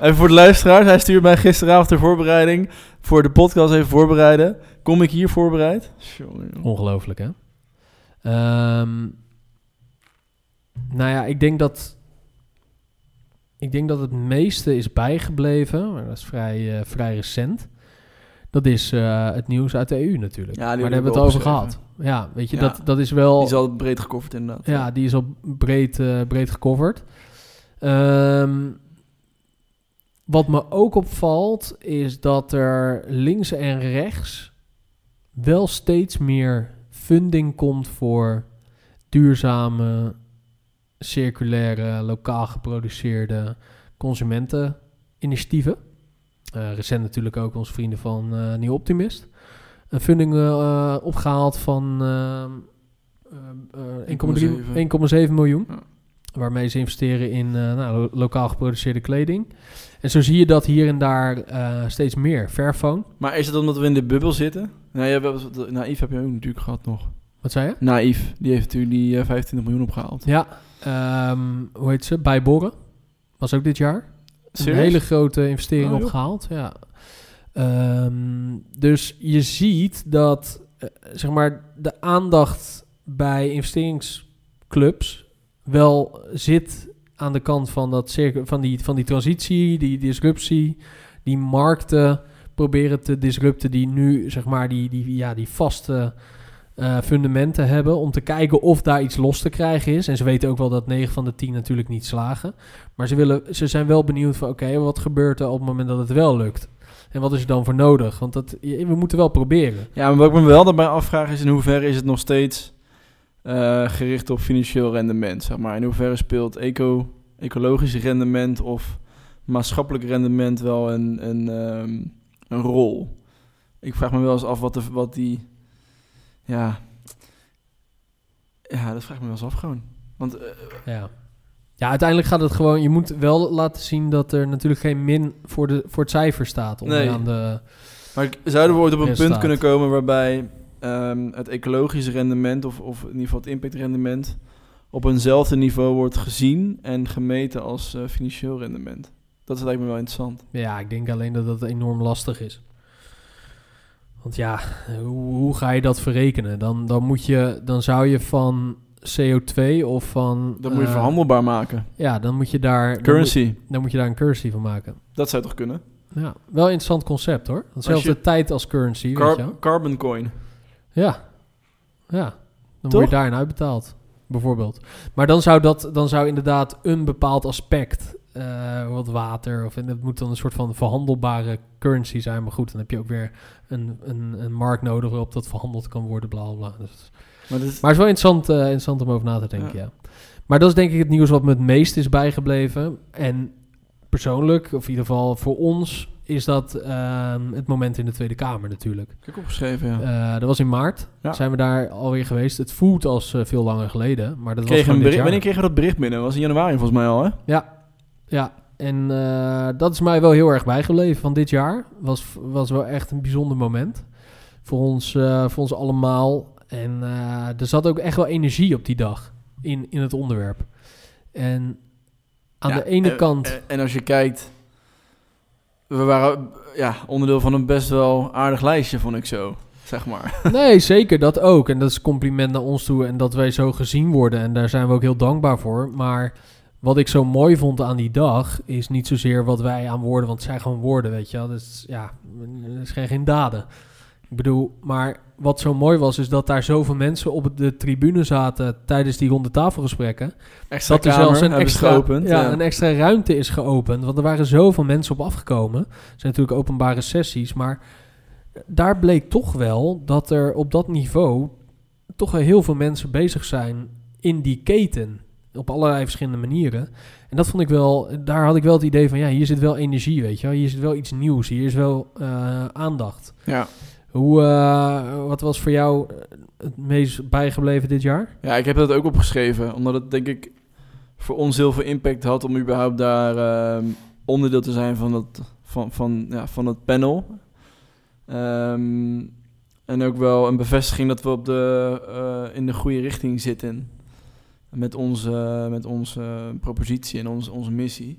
Speaker 2: Even voor de luisteraars, hij stuurt mij gisteravond ter voorbereiding. Voor de podcast even voorbereiden. Kom ik hier voorbereid? Tjonge, jonge.
Speaker 1: Ongelooflijk, hè? Ehm, nou ja, ik denk dat. Ik denk dat het meeste is bijgebleven, maar dat is vrij, eh, vrij recent. Dat is eh, het nieuws uit de EU natuurlijk.
Speaker 2: Ja, die
Speaker 1: maar daar hebben
Speaker 2: hebben
Speaker 1: we
Speaker 2: we
Speaker 1: het over gehad.
Speaker 2: opgeschreven.
Speaker 1: Ja, weet je,
Speaker 2: Ja.
Speaker 1: Dat, dat is wel.
Speaker 2: Die is al breed gecoverd inderdaad.
Speaker 1: Ja, die is al breed, eh, breed gecoverd. Ehm, wat me ook opvalt is dat er links en rechts wel steeds meer funding komt voor duurzame, circulaire, lokaal geproduceerde consumenteninitiatieven. Eh, recent natuurlijk ook onze vrienden van eh Nieuw Optimist. Een funding eh, opgehaald van ehm, ehm, eh, 1,3 1,7 miljoen.
Speaker 2: Ja.
Speaker 1: Waarmee ze investeren in eh, nou, lo- lokaal geproduceerde kleding. En zo zie je dat hier en daar eh, steeds meer. Fairphone,
Speaker 2: Maar is het omdat we in de bubbel zitten? Nou, ja, we hebben- Naïef heb je ook natuurlijk gehad nog.
Speaker 1: wat zei je?
Speaker 2: Naïef, die heeft natuurlijk die eh, 25 miljoen opgehaald.
Speaker 1: Ja, ehm, hoe heet ze? Bijboren. Was ook dit jaar.
Speaker 2: Serieus?
Speaker 1: Een hele grote investering
Speaker 2: Oh, joh.
Speaker 1: opgehaald. Ja. Ehm, dus je ziet dat eh, zeg maar de aandacht bij investeringsclubs wel zit aan de kant van, dat cirkel, van, die, van die transitie, die disruptie, die markten proberen te disrupten die nu zeg maar die, die, ja, die vaste eh, fundamenten hebben om te kijken of daar iets los te krijgen is. En ze weten ook wel dat 9 van de 10 natuurlijk niet slagen. Maar ze, willen, ze zijn wel benieuwd van oké, wat gebeurt er op het moment dat het wel lukt? En wat is er dan voor nodig? Want dat, je- we moeten wel proberen.
Speaker 2: Ja, maar wat ik me wel daarbij afvraag is in hoeverre is het nog steeds eh, gericht op financieel rendement, zeg maar. In hoeverre speelt eco, ecologisch rendement of maatschappelijk rendement wel een, een, ehm, een rol. Ik vraag me wel eens af wat, de, wat die. Ja. Ja, dat vraag ik me wel eens af gewoon. Want eh,
Speaker 1: Ja. ja, uiteindelijk gaat het gewoon... Je moet wel laten zien dat er natuurlijk geen min voor, de, voor het cijfer staat.
Speaker 2: Nee.
Speaker 1: Onderaan de,
Speaker 2: Maar ik- zouden we ooit op een punt
Speaker 1: Resultaat.
Speaker 2: kunnen komen waarbij ehm, het ecologisch rendement, of, of in ieder geval het impactrendement, op eenzelfde niveau wordt gezien en gemeten als eh, financieel rendement? Dat is lijkt me wel interessant.
Speaker 1: ja, ik denk alleen dat dat enorm lastig is. Want ja, hoe, hoe ga je dat verrekenen? Dan, dan, moet je, dan zou je van CO2 of van...
Speaker 2: Dat moet je
Speaker 1: eh,
Speaker 2: verhandelbaar maken.
Speaker 1: Ja, dan moet je daar... dan
Speaker 2: Currency,
Speaker 1: moet- dan moet je daar een currency van maken.
Speaker 2: dat zou toch kunnen?
Speaker 1: Ja, wel een interessant concept hoor. Hetzelfde
Speaker 2: Als je-
Speaker 1: tijd als currency, weet
Speaker 2: Car-
Speaker 1: je wel.
Speaker 2: carbon coin.
Speaker 1: Ja. Ja. Dan
Speaker 2: Toch?
Speaker 1: word je daarin uitbetaald, bijvoorbeeld. Maar dan zou, dat, dan zou inderdaad een bepaald aspect, eh, wat water, of en dat moet dan een soort van verhandelbare currency zijn. Maar goed, dan heb je ook weer een, een, een markt nodig waarop dat verhandeld kan worden, bla bla, bla. Dus-
Speaker 2: Maar dat is,
Speaker 1: maar het is wel interessant, eh, interessant om over na te denken, ja. Maar dat is denk ik het nieuws wat me het meest is bijgebleven. En persoonlijk, of in ieder geval voor ons, is dat ehm, het moment in de Tweede Kamer natuurlijk.
Speaker 2: ik heb opgeschreven, ja.
Speaker 1: Eh, dat was in maart.
Speaker 2: Ja.
Speaker 1: Zijn we daar alweer geweest. Het voelt als eh, veel langer geleden. Maar dat
Speaker 2: Kreeg
Speaker 1: was gewoon
Speaker 2: een
Speaker 1: dit
Speaker 2: bericht,
Speaker 1: jaar.
Speaker 2: wanneer kregen we dat bericht binnen? was in januari volgens mij al, hè?
Speaker 1: Ja, en eh, dat is mij wel heel erg bijgebleven van dit jaar. Was, was wel echt een bijzonder moment. Voor ons, eh, voor ons allemaal. En eh, er zat ook echt wel energie op die dag. In, in het onderwerp. En aan
Speaker 2: Ja,
Speaker 1: de ene
Speaker 2: eh,
Speaker 1: kant...
Speaker 2: eh, En als je kijkt, we waren ja, onderdeel van een best wel aardig lijstje, vond ik zo, zeg maar.
Speaker 1: Nee, zeker dat ook. En dat is een compliment naar ons toe en dat wij zo gezien worden. En daar zijn we ook heel dankbaar voor. Maar wat ik zo mooi vond aan die dag is niet zozeer wat wij aan woorden, want het zijn gewoon woorden, weet je wel. Dus ja, het is geen, geen daden. Ik bedoel, maar wat zo mooi was, is dat daar zoveel mensen op de tribune zaten tijdens die ronde tafelgesprekken.
Speaker 2: Extra
Speaker 1: Dat er zelfs een extra,
Speaker 2: geopend.
Speaker 1: ja,
Speaker 2: ja.
Speaker 1: een e- extra ruimte is geopend. Want er waren zoveel mensen op afgekomen. Er zijn natuurlijk openbare sessies. Maar daar bleek toch wel dat er op dat niveau toch wel heel veel mensen bezig zijn in die keten. Op allerlei verschillende manieren. En dat vond ik wel, daar had ik wel het idee van, ja, hier zit wel energie, weet je wel. Hier zit wel iets nieuws, hier is wel eh, aandacht.
Speaker 2: Ja.
Speaker 1: Hoe, eh, wat was voor jou het meest bijgebleven dit jaar?
Speaker 2: ja, ik heb dat ook opgeschreven, omdat het denk ik voor ons heel veel impact had om überhaupt daar ehm, onderdeel te zijn van dat, van, van, ja, van dat panel. Ehm, en ook wel een bevestiging dat we op de, eh, in de goede richting zitten. Met onze, met onze propositie en onze, onze missie.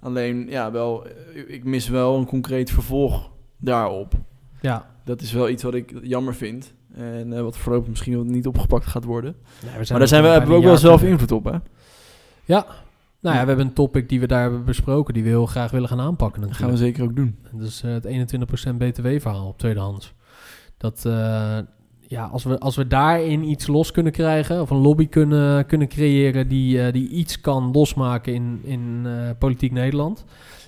Speaker 2: Alleen, ja, wel, eh, ik mis wel een concreet vervolg daarop.
Speaker 1: Ja,
Speaker 2: Dat is wel iets wat ik jammer vind. En eh, wat voorlopig misschien nog niet opgepakt gaat worden.
Speaker 1: Nou, we
Speaker 2: Maar daar zijn we, hebben we ook wel zelf invloed op, hè?
Speaker 1: Nou ja,
Speaker 2: Ja.
Speaker 1: we hebben een topic die we daar hebben besproken, die we heel graag willen gaan aanpakken.
Speaker 2: Dat gaan we
Speaker 1: Natuurlijk.
Speaker 2: zeker ook doen.
Speaker 1: Dat is eh, het 21% BTW-verhaal op tweedehands. Dat, eh, ja, als we, als we daarin iets los kunnen krijgen, of een lobby kunnen, kunnen creëren die, eh, die iets kan losmaken in, in eh, politiek Nederland.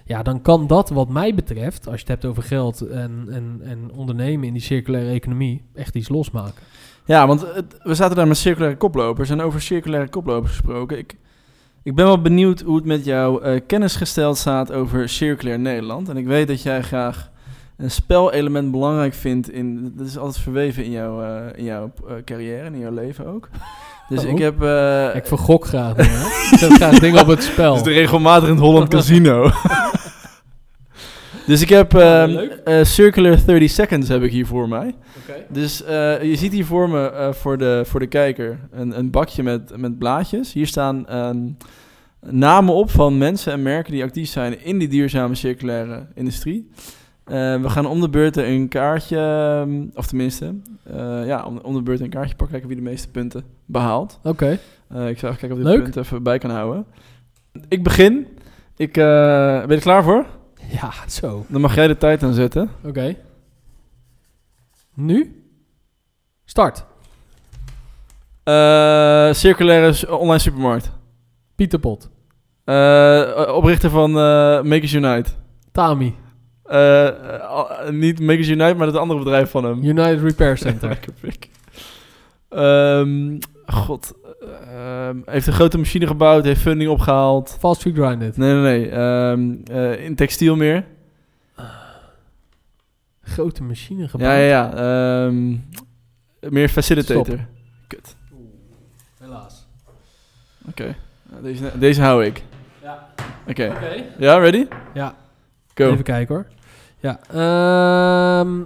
Speaker 1: Ja, dan kan dat wat mij betreft, als je het hebt over geld en, en, en ondernemen in die circulaire economie, echt iets losmaken.
Speaker 2: Ja, want het- we zaten daar met circulaire koplopers en over circulaire koplopers gesproken. Ik, ik ben wel benieuwd hoe het met jou eh, kennis gesteld staat over circulair Nederland. En ik weet dat jij graag een spelelement belangrijk vindt. In, dat is altijd verweven in jouw, eh, in jouw eh, carrière en in jouw leven ook. Dus
Speaker 1: Oh.
Speaker 2: ik heb... eh,
Speaker 1: Ik vergok graag. dingen, hè. Ik zet graag dingen op het spel.
Speaker 2: Dus de regelmatig in het Holland Casino. dus ik heb
Speaker 1: Ja,
Speaker 2: ehm,
Speaker 1: leuk.
Speaker 2: eh, Circular 30 Seconds heb ik hier voor mij. Dus eh, je ziet hier voor me, eh, voor, de, voor de kijker, een, een bakje met, met blaadjes. Hier staan ehm, namen op van mensen en merken die actief zijn in die duurzame circulaire industrie. Eh, we gaan om de beurt een kaartje, ehm, of tenminste, eh, ja, om, om de beurt een kaartje pakken, kijken wie de meeste punten behaalt.
Speaker 1: Oké.
Speaker 2: Eh, ik zou even kijken of ik
Speaker 1: Leuk.
Speaker 2: dit punt even bij kan houden. Ik begin. Ik, eh, ben je er klaar voor?
Speaker 1: Ja, zo.
Speaker 2: Dan mag jij de tijd aanzetten.
Speaker 1: Oké. Nu? Start.
Speaker 2: Eh circulaire s- online supermarkt.
Speaker 1: Pieter Pot.
Speaker 2: Eh, oprichter van eh, Makers Unite.
Speaker 1: Tami.
Speaker 2: Eh, eh, al- niet Makers Unite, maar het andere bedrijf van hem.
Speaker 1: United Repair Center.
Speaker 2: Lekker pik. Ehm, God, ehm, heeft een grote machine gebouwd, heeft funding opgehaald.
Speaker 1: Fast Food Grinded.
Speaker 2: Nee, nee, nee. ehm, eh, in textiel meer.
Speaker 1: Grote machine gebouwd.
Speaker 2: Ja, ja, ja. ehm, meer facilitator.
Speaker 1: Stop.
Speaker 2: Kut.
Speaker 1: Helaas.
Speaker 2: Nou, Deze, deze hou ik.
Speaker 1: Ja.
Speaker 2: Oké. Ja, ready?
Speaker 1: Ja.
Speaker 2: Go.
Speaker 1: Even kijken hoor. Ja. ehm,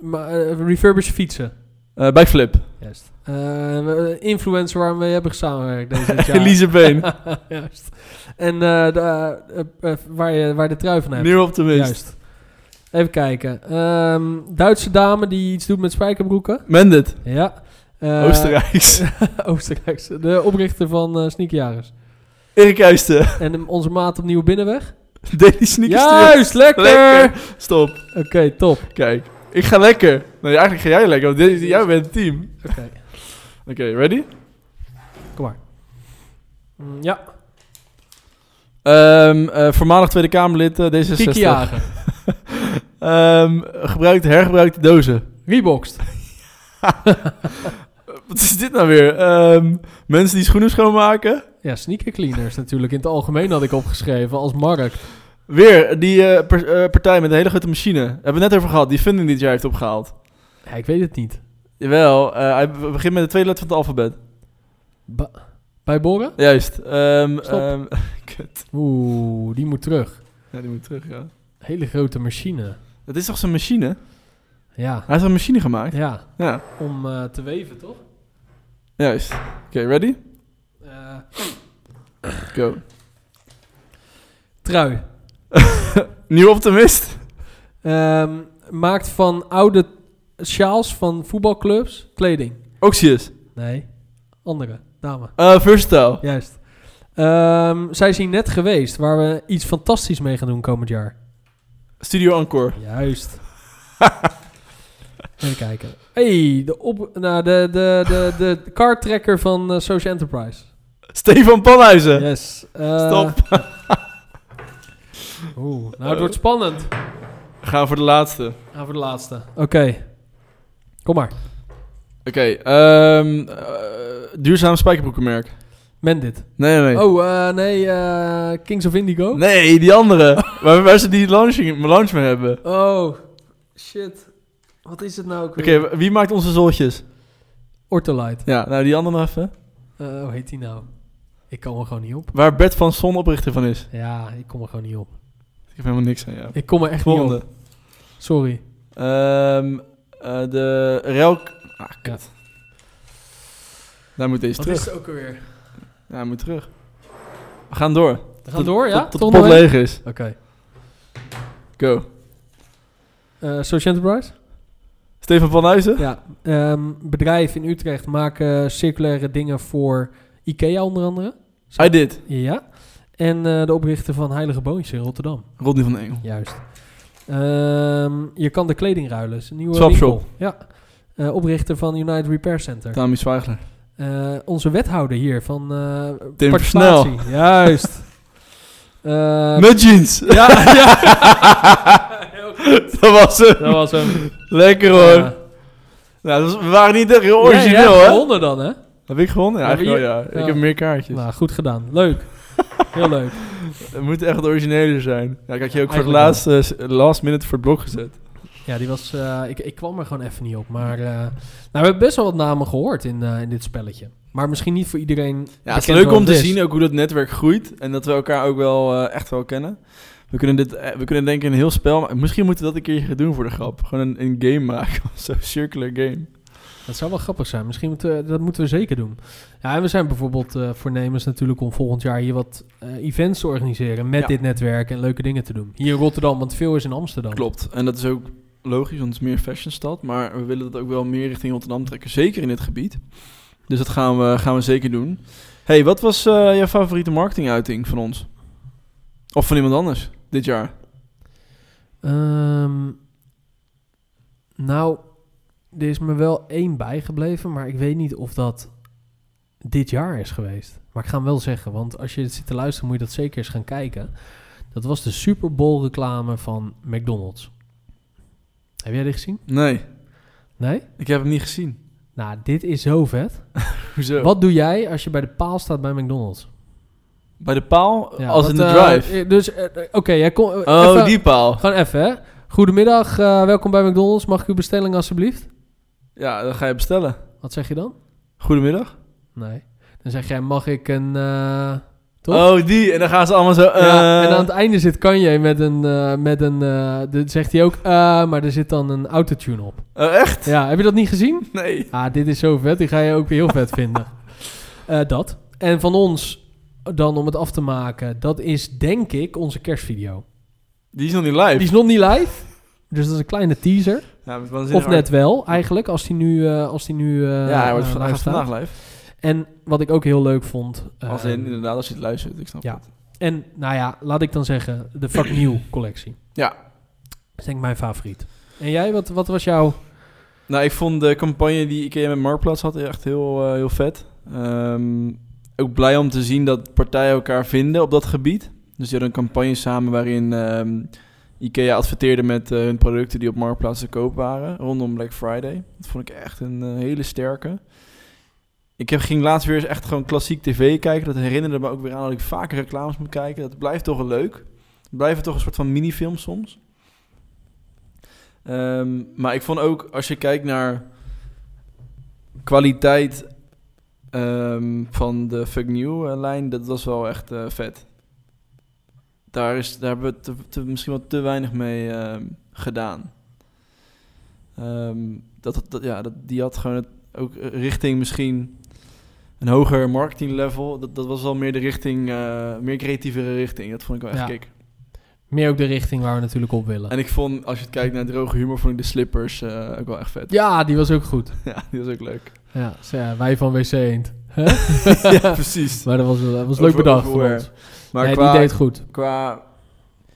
Speaker 1: maar, eh, refurbish fietsen.
Speaker 2: Eh, bikeflip.
Speaker 1: Juist. Eh, influencer waar we mee hebben samengewerkt deze jaar.
Speaker 2: Elise Been.
Speaker 1: Juist. En eh, de, eh, eh, eh, waar, je, waar de trui van hebt.
Speaker 2: Nieuw optimist.
Speaker 1: Juist. Even kijken. Ehm, Duitse dame die iets doet met spijkerbroeken.
Speaker 2: Mended.
Speaker 1: Ja. Eh,
Speaker 2: Oostenrijks.
Speaker 1: Oostenrijkse. De oprichter van eh Sneakjagers.
Speaker 2: Erik Uisten.
Speaker 1: En hem- onze maat op Nieuwe Binnenweg.
Speaker 2: Daily sneakers. terug.
Speaker 1: Juist, lekker!
Speaker 2: Lekker. Stop.
Speaker 1: Oké, top.
Speaker 2: Kijk. Ik ga lekker. Nee, eigenlijk ga jij lekker. Want dit- jij bent het team.
Speaker 1: Oké,
Speaker 2: Oké, ready?
Speaker 1: kom maar. Mm, Ja,
Speaker 2: Ehm, eh, voormalig Tweede Kamerlid eh, D66.
Speaker 1: Kiki Jager.
Speaker 2: Ehm, gebruikte, hergebruikte dozen.
Speaker 1: Reboxed.
Speaker 2: Wat is dit nou weer? Ehm, mensen die schoenen schoonmaken.
Speaker 1: Ja, sneaker cleaners natuurlijk. In het algemeen had ik opgeschreven als markt.
Speaker 2: Weer die eh, per- eh, partij met een hele grote machine. Hebben we het net over gehad. Die funding dit jaar heeft opgehaald.
Speaker 1: Ja, ik weet het niet.
Speaker 2: Jawel. eh, hij be- begint met de tweede letter van het alfabet.
Speaker 1: Ba- bij Boren?
Speaker 2: Juist. Ehm,
Speaker 1: Stop.
Speaker 2: ehm, kut.
Speaker 1: Oeh, die moet terug.
Speaker 2: Ja, die moet terug, ja.
Speaker 1: Hele grote machine.
Speaker 2: Dat is toch zijn machine?
Speaker 1: Ja,
Speaker 2: Hij heeft een machine gemaakt.
Speaker 1: ja.
Speaker 2: Ja,
Speaker 1: om eh, te weven, toch?
Speaker 2: juist. Oké, ready?
Speaker 1: Eh,
Speaker 2: Go.
Speaker 1: trui.
Speaker 2: Nieuw optimist.
Speaker 1: Ehm, maakt van oude sjaals van voetbalclubs kleding.
Speaker 2: Oxius.
Speaker 1: Nee, andere, dame.
Speaker 2: Eh versatile.
Speaker 1: Juist. Ehm, zij is hier net geweest, waar we iets fantastisch mee gaan doen komend jaar.
Speaker 2: Studio Encore.
Speaker 1: Juist. Even kijken. hey, de, op, nou, de, de, de, de, de cardtrekker van eh, Social Enterprise.
Speaker 2: Stefan Panhuizen.
Speaker 1: Yes. Eh,
Speaker 2: Stop.
Speaker 1: Oeh, nou, het wordt spannend.
Speaker 2: We gaan voor de laatste.
Speaker 1: Gaan voor de laatste. Oké. Kom maar.
Speaker 2: Oké, ehm, eh, duurzaam spijkerbroekenmerk.
Speaker 1: Mendit.
Speaker 2: Nee, nee.
Speaker 1: Oh, eh, nee, eh, Kings of Indigo.
Speaker 2: Nee, die andere. waar, waar ze die launching, launch mee hebben. Oké,
Speaker 1: Oh, shit. Wat is het nou ook weer?
Speaker 2: w- wie maakt onze zoltjes?
Speaker 1: Ortolite.
Speaker 2: Ja, nou die andere nog even.
Speaker 1: Eh, hoe heet die nou? Ik kom er gewoon niet op.
Speaker 2: Waar Bert van Son oprichter van is.
Speaker 1: Ja, ik kom er gewoon niet op.
Speaker 2: Ik heb helemaal niks aan jou.
Speaker 1: Ik kom er echt niet
Speaker 2: Volgende.
Speaker 1: op. Sorry.
Speaker 2: Ehm, eh, de Relk... Ah, kut. Daar moet deze
Speaker 1: Wat
Speaker 2: terug.
Speaker 1: is het ook alweer?
Speaker 2: Ja, hij moet terug. We gaan door.
Speaker 1: We gaan door, ja?
Speaker 2: Tot, tot
Speaker 1: Toch
Speaker 2: de
Speaker 1: nog
Speaker 2: pot
Speaker 1: één?
Speaker 2: leeg is.
Speaker 1: Oké.
Speaker 2: Go.
Speaker 1: Eh, Social Enterprise?
Speaker 2: Stefan Panhuizen.
Speaker 1: ja. Ehm, bedrijven in Utrecht maken circulaire dingen voor IKEA onder andere.
Speaker 2: I did.
Speaker 1: Ja. En eh, de oprichter van Heilige Boontjes in Rotterdam.
Speaker 2: Rodney van Engel.
Speaker 1: Juist. Ehm, je kan de kleding ruilen. Is een nieuwe
Speaker 2: Swapshop.
Speaker 1: winkel. Ja. Eh, oprichter van United Repair Center.
Speaker 2: Tammy Zwijgler.
Speaker 1: Eh, onze wethouder hier van eh
Speaker 2: Tim
Speaker 1: participatie. Juist. Eh,
Speaker 2: Met jeans.
Speaker 1: ja, ja. Heel goed.
Speaker 2: Dat was hem.
Speaker 1: Dat was hem.
Speaker 2: Lekker hoor. nou, dat was- we waren niet echt heel origineel, hè?
Speaker 1: Gewonnen dan, hè?
Speaker 2: Heb ik gewonnen? Ja,
Speaker 1: Hebben
Speaker 2: eigenlijk wel, ja.
Speaker 1: ja.
Speaker 2: Ik heb meer kaartjes.
Speaker 1: Nou, goed gedaan. Leuk. Heel leuk.
Speaker 2: Het moet echt origineler zijn. Ja, ik had je ook voor het
Speaker 1: Eigenlijk
Speaker 2: laatste, eh, last minute voor het blok gezet.
Speaker 1: Ja, die was... eh, ik, ik kwam er gewoon even niet op. Maar eh, nou, we hebben best wel wat namen gehoord in, eh, in dit spelletje. Maar misschien niet voor iedereen
Speaker 2: Ja,
Speaker 1: bekend
Speaker 2: het is leuk
Speaker 1: wat
Speaker 2: om te
Speaker 1: het is.
Speaker 2: zien ook hoe dat netwerk groeit. En dat we elkaar ook wel eh, echt wel kennen. We kunnen, dit, eh, we kunnen denken een heel spel... Maar misschien moeten we dat een keertje gaan doen voor de grap. Gewoon een, een game maken. of Zo'n circular game.
Speaker 1: Dat zou wel grappig zijn. Misschien moeten we, dat moeten we zeker doen. Ja, en we zijn bijvoorbeeld eh, voornemens natuurlijk om volgend jaar hier wat eh, events te organiseren met
Speaker 2: Ja.
Speaker 1: dit netwerk en leuke dingen te doen. Hier in Rotterdam, want veel is in Amsterdam.
Speaker 2: Klopt. En dat is ook logisch, want het is meer fashionstad. Maar we willen dat ook wel meer richting Rotterdam trekken. Zeker in dit gebied. Dus dat gaan we, gaan we zeker doen. hey, wat was eh, jouw favoriete marketinguiting van ons? Of van iemand anders dit jaar?
Speaker 1: Ehm, nou, er is me wel één bijgebleven, maar ik weet niet of dat dit jaar is geweest. Maar ik ga hem wel zeggen, want als je dit zit te luisteren moet je dat zeker eens gaan kijken. Dat was de Super Bowl reclame van McDonald's. Heb jij dit gezien?
Speaker 2: Nee,
Speaker 1: Nee?
Speaker 2: ik heb hem niet gezien.
Speaker 1: Nou, dit is zo vet.
Speaker 2: Hoezo?
Speaker 1: Wat doe jij als je bij de paal staat bij McDonald's?
Speaker 2: Bij de paal?
Speaker 1: Ja,
Speaker 2: als
Speaker 1: wat,
Speaker 2: in de
Speaker 1: eh,
Speaker 2: drive?
Speaker 1: eh, dus, eh, eh, oké, jij kon... eh,
Speaker 2: oh,
Speaker 1: even-
Speaker 2: die paal.
Speaker 1: Gewoon even, hè. Goedemiddag, eh, welkom bij McDonald's. Mag ik uw bestelling alsjeblieft?
Speaker 2: Ja, dan ga je bestellen.
Speaker 1: Wat zeg je dan?
Speaker 2: Goedemiddag.
Speaker 1: Nee. Dan zeg jij, mag ik een... eh, toch?
Speaker 2: Oh, die. En dan gaan ze allemaal zo...
Speaker 1: Ja,
Speaker 2: eh,
Speaker 1: en aan het einde zit Kanye met een... eh, met een eh, dan zegt hij ook, eh, maar er zit dan een autotune op.
Speaker 2: Oh, echt?
Speaker 1: Ja, heb je dat niet gezien?
Speaker 2: Nee.
Speaker 1: Ah, dit is zo vet. Die ga je ook weer heel vet vinden. Eh, dat. En van ons, dan om het af te maken, dat is denk ik onze kerstvideo.
Speaker 2: Die is nog niet live.
Speaker 1: Die is nog niet live. Dus dat is een kleine teaser.
Speaker 2: Ja, maar waanzinnig
Speaker 1: Of net wel, eigenlijk, als die nu... eh, als die nu eh,
Speaker 2: hard. Ja, hij wordt
Speaker 1: eh,
Speaker 2: vandaag,
Speaker 1: live staat.
Speaker 2: vandaag live.
Speaker 1: En wat ik ook heel leuk vond... eh,
Speaker 2: Als in, inderdaad, als je het luistert. Ik snap
Speaker 1: ja.
Speaker 2: het.
Speaker 1: en nou ja, laat ik dan zeggen, de Fuck New collectie.
Speaker 2: Ja.
Speaker 1: Dat is denk ik mijn favoriet. En jij, wat, wat was jouw...
Speaker 2: Nou, ik vond de campagne die IKEA met Marktplaats had echt heel, eh, heel vet. Ehm, ook blij om te zien dat partijen elkaar vinden op dat gebied. Dus die hadden een campagne samen waarin ehm, IKEA adverteerde met eh, hun producten die op Marktplaats te koop waren rondom Black Friday. Dat vond ik echt een eh, hele sterke. Ik heb, ging laatst weer eens echt gewoon klassiek tv kijken. Dat herinnerde me ook weer aan dat ik vaker reclames moet kijken. Dat blijft toch wel leuk. Het blijven toch een soort van minifilm soms. Ehm, maar ik vond ook, als je kijkt naar kwaliteit ehm, van de Fuck New eh, lijn, dat was wel echt eh, vet. Daar, is, daar hebben we te- te- misschien wel te weinig mee ehm, gedaan. Ehm, dat, dat, ja, dat, die had gewoon het, ook eh, richting misschien een hoger marketing level. Dat, dat was wel meer de richting, eh, meer creatievere richting. Dat vond ik wel echt
Speaker 1: Ja.
Speaker 2: kick.
Speaker 1: Meer ook de richting waar we natuurlijk op willen.
Speaker 2: En ik vond, als je het kijkt naar droge humor, vond ik de slippers eh, ook wel echt vet.
Speaker 1: Ja, die was ook goed.
Speaker 2: Ja, die was ook leuk.
Speaker 1: Ja, zo ja, wij van WC Eend. Hè?
Speaker 2: ja, precies.
Speaker 1: Maar dat was, dat was
Speaker 2: Over-
Speaker 1: leuk bedacht voor
Speaker 2: overwear.
Speaker 1: ons.
Speaker 2: Maar
Speaker 1: nee,
Speaker 2: qua,
Speaker 1: die deed goed.
Speaker 2: qua...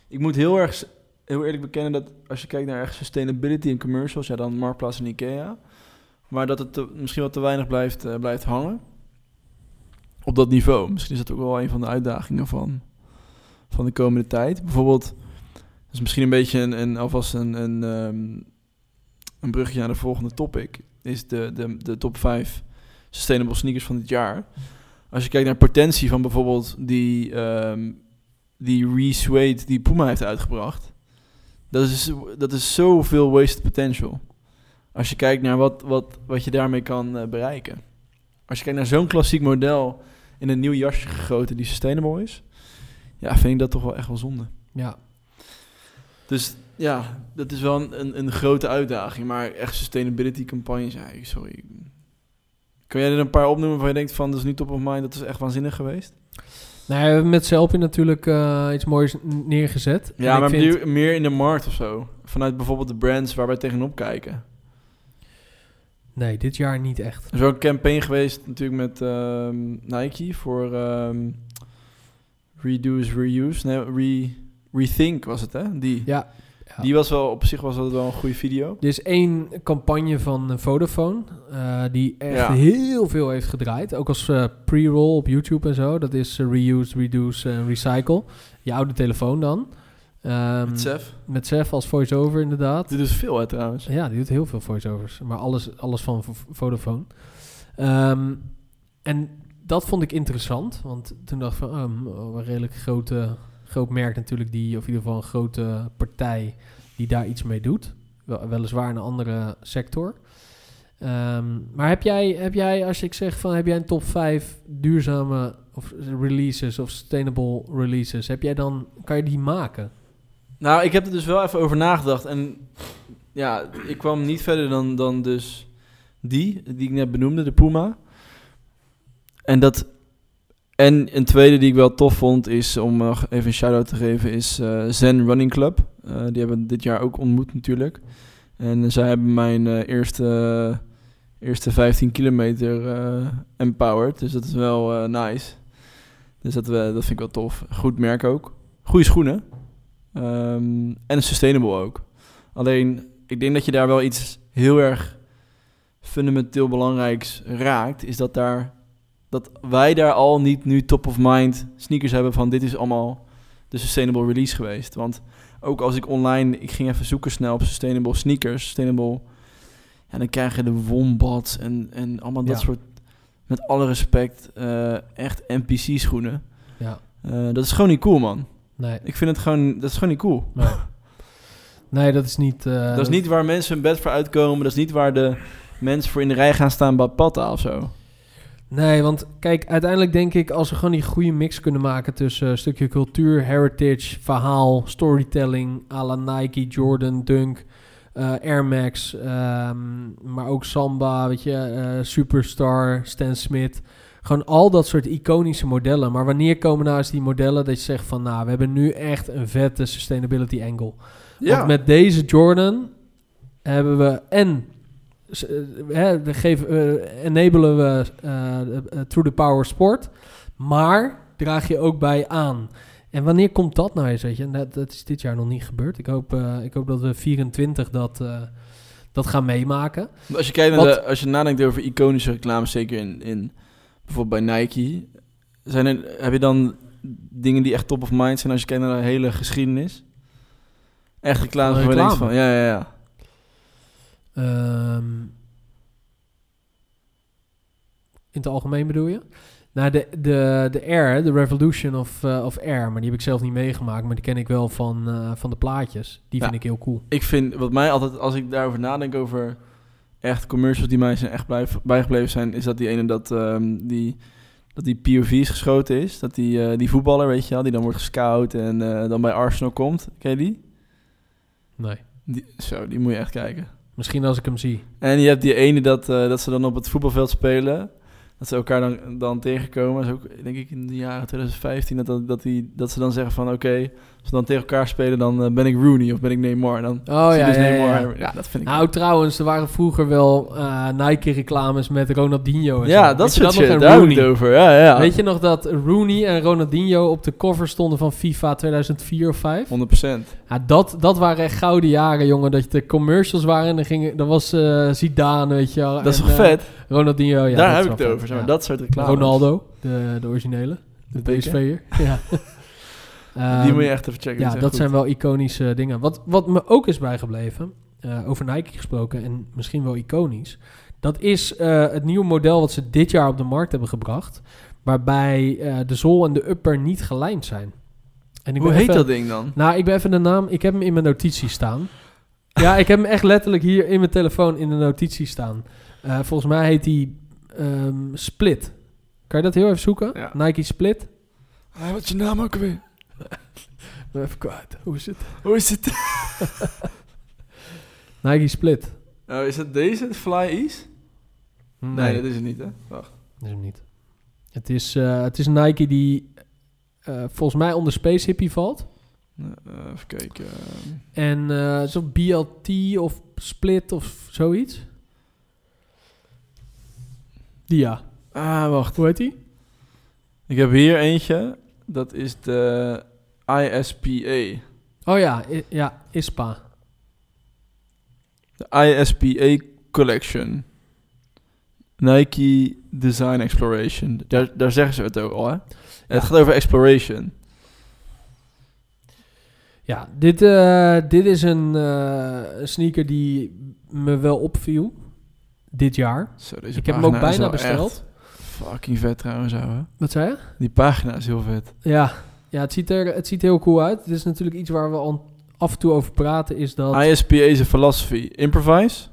Speaker 2: Ik moet heel erg s- heel eerlijk bekennen dat als je kijkt naar echt sustainability en commercials, ja dan Marktplaats en Ikea. Maar dat het te- misschien wel te weinig blijft, eh, blijft hangen. Op dat niveau. Misschien is dat ook wel een van de uitdagingen van, van de komende tijd. Bijvoorbeeld, dat is misschien een beetje een, een, alvast een, een, ehm, een brugje naar de volgende topic. Is de, de, de top 5 sustainable sneakers van dit jaar. Als je kijkt naar potentie van bijvoorbeeld die, ehm die re-suede die Puma heeft uitgebracht. Dat is, dat is zoveel wasted potential. Als je kijkt naar wat, wat, wat je daarmee kan eh, bereiken. Als je kijkt naar zo'n klassiek model in een nieuw jasje gegoten die sustainable is. Ja, vind ik dat toch wel echt wel zonde.
Speaker 1: Ja.
Speaker 2: Dus ja, dat is wel een, een, een grote uitdaging. Maar echt sustainability campagnes, ja, ik- sorry. Kun jij er een paar opnoemen waarvan je denkt van, dat is nu top of mind, dat is echt waanzinnig geweest?
Speaker 1: Nou, we hebben met Selfie natuurlijk eh, iets moois n- neergezet. En
Speaker 2: Ja,
Speaker 1: ik
Speaker 2: maar
Speaker 1: vind-
Speaker 2: meer- meer in de markt of zo. Vanuit bijvoorbeeld de brands waar wij tegenop kijken.
Speaker 1: Nee, dit jaar niet echt.
Speaker 2: Er is ook een campaign geweest natuurlijk met ehm, Nike voor ehm, Reduce, Reuse. Nee, re, Rethink was het hè? Die.
Speaker 1: Ja. ja.
Speaker 2: Die was wel, op zich was dat wel een goede video.
Speaker 1: Er is één campagne van eh, Vodafone eh, die echt
Speaker 2: Ja.
Speaker 1: heel veel heeft gedraaid. Ook als eh, pre-roll op YouTube en zo. Dat is eh, reuse, reduce en recycle. Je oude telefoon dan. Ehm,
Speaker 2: Met Sef.
Speaker 1: Met Sef als voice-over inderdaad.
Speaker 2: Dit is veel hè trouwens.
Speaker 1: Ja, die doet heel veel voiceovers. Maar alles, alles van V- Vodafone. Ehm, en dat vond ik interessant. Want toen dacht ik van, oh, m- oh, een redelijk grote, groot merk natuurlijk. Die, of in ieder geval een grote partij die daar iets mee doet. Wel, weliswaar in een andere sector. Ehm, maar heb jij, heb jij, als ik zeg van, heb jij een top 5 duurzame of releases of sustainable releases? Heb jij dan, kan je die maken?
Speaker 2: Nou, ik heb er dus wel even over nagedacht. En ja, ik kwam niet verder dan, dan dus die, die ik net benoemde, de Puma. En dat... En een tweede die ik wel tof vond is, om nog even een shout-out te geven, is eh, Zen Running Club. Eh, die hebben we dit jaar ook ontmoet natuurlijk. En zij hebben mijn eh, eerste, eerste 15 kilometer eh, empowered. Dus dat is wel eh, nice. Dus dat, we dat vind ik wel tof. Goed merk ook. Goede schoenen. Ehm, en sustainable ook. Alleen, ik denk dat je daar wel iets heel erg fundamenteel belangrijks raakt. Is dat, daar, dat wij daar al niet nu top of mind sneakers hebben van dit is allemaal de sustainable release geweest. Want ook als ik online, ik ging even zoeken snel op sustainable sneakers, sustainable... Ja, dan krijg je de wombats en, en allemaal dat
Speaker 1: Ja.
Speaker 2: soort, met alle respect, eh, echt NPC-schoenen.
Speaker 1: Ja,
Speaker 2: Eh, dat is gewoon niet cool, man.
Speaker 1: nee.
Speaker 2: Ik vind het gewoon, dat is gewoon niet cool.
Speaker 1: Nee, nee dat is niet... eh,
Speaker 2: dat is niet waar mensen hun bed voor uitkomen. Dat is niet waar de mensen voor in de rij gaan staan bij Patta of zo.
Speaker 1: Nee, want kijk, uiteindelijk denk ik als we gewoon die goede mix kunnen maken tussen een stukje cultuur, heritage, verhaal, storytelling, à la Nike, Jordan, Dunk, eh, Air Max, ehm, maar ook Samba, weet je, eh, Superstar, Stan Smith. Gewoon al dat soort iconische modellen. Maar wanneer komen nou eens die modellen dat je zegt van, nou, we hebben nu echt een vette sustainability angle. Want met deze Jordan hebben we en s- eh, hè, we geven, eh, enablen we eh, eh, through the power sport, maar draag je ook bij aan. En wanneer komt dat nou eens? Weet je? En Dat, dat is dit jaar nog niet gebeurd. Ik hoop, eh, ik hoop dat we 24 dat, eh, dat gaan meemaken.
Speaker 2: Als je, kijkt naar
Speaker 1: Wat-
Speaker 2: de, als je nadenkt over iconische reclames, zeker in, in bijvoorbeeld bij Nike, zijn er, heb je dan dingen die echt top of mind zijn als je kijkt naar de hele geschiedenis? Echt reclames
Speaker 1: Van
Speaker 2: waar je denkt
Speaker 1: reclame?
Speaker 2: van, ja, ja, ja.
Speaker 1: Ehm, in het algemeen bedoel je? Nou, de, de, de Air, hè, de Revolution of, eh, of Air, maar die heb ik zelf niet meegemaakt, maar die ken ik wel van, eh, van de plaatjes. Die
Speaker 2: Ja.
Speaker 1: vind ik heel cool.
Speaker 2: Ik vind, wat mij altijd, als ik daarover nadenk over echt commercials die mij zijn echt blijf, bijgebleven zijn, is dat die ene dat, ehm, die, dat die POV's geschoten is. Dat die, eh, die voetballer, weet je wel, die dan wordt gescout en eh, dan bij Arsenal komt. Ken je die?
Speaker 1: Nee.
Speaker 2: die? Zo, die moet je echt kijken.
Speaker 1: Misschien als ik hem zie.
Speaker 2: En je hebt die ene dat, eh, dat ze dan op het voetbalveld spelen. Dat ze elkaar dan, dan tegenkomen. Dat is ook, denk ik, in de jaren 2015. Dat, dat, dat, die, dat ze dan zeggen van... Oké, als we dan tegen elkaar spelen... dan eh, ben ik Rooney of ben ik Neymar. Dan
Speaker 1: Oh
Speaker 2: zie je
Speaker 1: ja,
Speaker 2: dus
Speaker 1: ja, ja,
Speaker 2: Neymar.
Speaker 1: ja.
Speaker 2: dat vind ik...
Speaker 1: Nou, trouwens, er waren vroeger wel eh, Nike-reclames met Ronaldinho. En
Speaker 2: ja,
Speaker 1: zo.
Speaker 2: dat
Speaker 1: Weet je
Speaker 2: soort shit.
Speaker 1: nog? En
Speaker 2: Daar heb ik het
Speaker 1: Rooney.
Speaker 2: over. Ja, ja.
Speaker 1: Weet je nog dat Rooney en Ronaldinho op de cover stonden van FIFA 2004 of 5?
Speaker 2: 100%.
Speaker 1: Ja, dat, dat waren echt gouden jaren, jongen. Dat je de commercials waren en dan, ging, dan was eh Zidane, weet je wel.
Speaker 2: Dat is
Speaker 1: en,
Speaker 2: toch
Speaker 1: eh,
Speaker 2: vet?
Speaker 1: Ronaldinho, ja. dat
Speaker 2: Daar heb
Speaker 1: is
Speaker 2: ik het
Speaker 1: wel
Speaker 2: over.
Speaker 1: vet,
Speaker 2: Zeg maar.
Speaker 1: ja.
Speaker 2: Dat soort reclames.
Speaker 1: Ronaldo, de, de originele. De,
Speaker 2: dikke.
Speaker 1: PSV'er. Ja.
Speaker 2: die
Speaker 1: Ehm,
Speaker 2: moet je echt even checken.
Speaker 1: ja,
Speaker 2: is
Speaker 1: dat
Speaker 2: echt goed.
Speaker 1: zijn wel iconische dingen. Wat, wat me ook is bijgebleven, eh, over Nike gesproken en misschien wel iconisch, dat is eh, het nieuwe model wat ze dit jaar op de markt hebben gebracht, waarbij eh, de zool en de upper niet gelijmd zijn. En ik
Speaker 2: Hoe
Speaker 1: ben
Speaker 2: heet
Speaker 1: even-
Speaker 2: dat ding dan?
Speaker 1: Nou, ik ben even de naam, ik heb hem in mijn notities staan. Ja, ik heb hem echt letterlijk hier in mijn telefoon in de notities staan. Eh, volgens mij heet die ehm, Split. Kan je dat heel even zoeken?
Speaker 2: Ja.
Speaker 1: Nike Split.
Speaker 2: Ah, wat is je naam ook weer?
Speaker 1: Nou, Even kwijt. Hoe is het?
Speaker 2: Hoe is het?
Speaker 1: Nike Split.
Speaker 2: Oh, is het deze? Fly Ease? Nee, dat is het niet, hè? Wacht.
Speaker 1: Dat is hem niet. Het is, eh, het is een Nike die eh, volgens mij onder Space Hippie valt.
Speaker 2: Nou, eh, even kijken. ehm.
Speaker 1: En eh zo'n BLT of Split of zoiets. Die ja.
Speaker 2: Ah, wacht.
Speaker 1: Hoe heet die?
Speaker 2: Ik heb hier eentje. Dat is de ISPA.
Speaker 1: Oh ja, i- ja ISPA.
Speaker 2: De ISPA Collection. Nike Design Exploration. Daar, daar zeggen ze het ook al, hè? Het gaat over exploration.
Speaker 1: Ja, dit, eh, dit is een eh, een sneaker die me wel opviel dit jaar.
Speaker 2: Zo, deze
Speaker 1: Ik heb hem ook
Speaker 2: pagina is
Speaker 1: bijna
Speaker 2: wel echt
Speaker 1: besteld.
Speaker 2: fucking vet trouwens, ouwe.
Speaker 1: Wat zei je?
Speaker 2: Die pagina is heel vet.
Speaker 1: Ja, ja het, ziet er, het ziet heel cool uit. Het is natuurlijk iets waar we al af en toe over praten, is dat...
Speaker 2: ISPA is een philosophy. Improvise,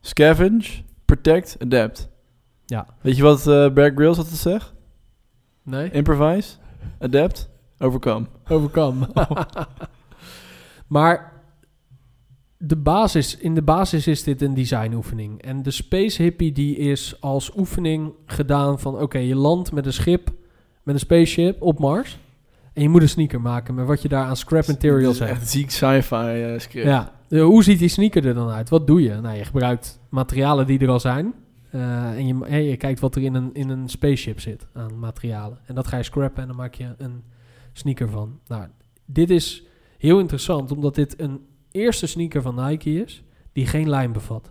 Speaker 2: scavenge, protect, adapt.
Speaker 1: Ja.
Speaker 2: Weet je wat eh Bear Grylls altijd zegt?
Speaker 1: Nee?
Speaker 2: Improvise, adapt, overcome.
Speaker 1: Overkam. maar de basis, in de basis is dit een designoefening. En de Space Hippie die is als oefening gedaan van... oké, je landt met een schip, met een spaceship op Mars... en je moet een sneaker maken met wat je daar aan scrap materials
Speaker 2: Dus Dit is
Speaker 1: hebt.
Speaker 2: Echt ziek sci-fi eh, script.
Speaker 1: Ja, Eh, hoe ziet die sneaker er dan uit? Wat doe je? Nou, je gebruikt materialen die er al zijn... eh, en je, eh, je kijkt wat er in een, in een spaceship zit aan materialen. En dat ga je scrappen en dan maak je een sneaker van. Nou, dit is heel interessant, omdat dit een eerste sneaker van Nike is die geen lijm bevat.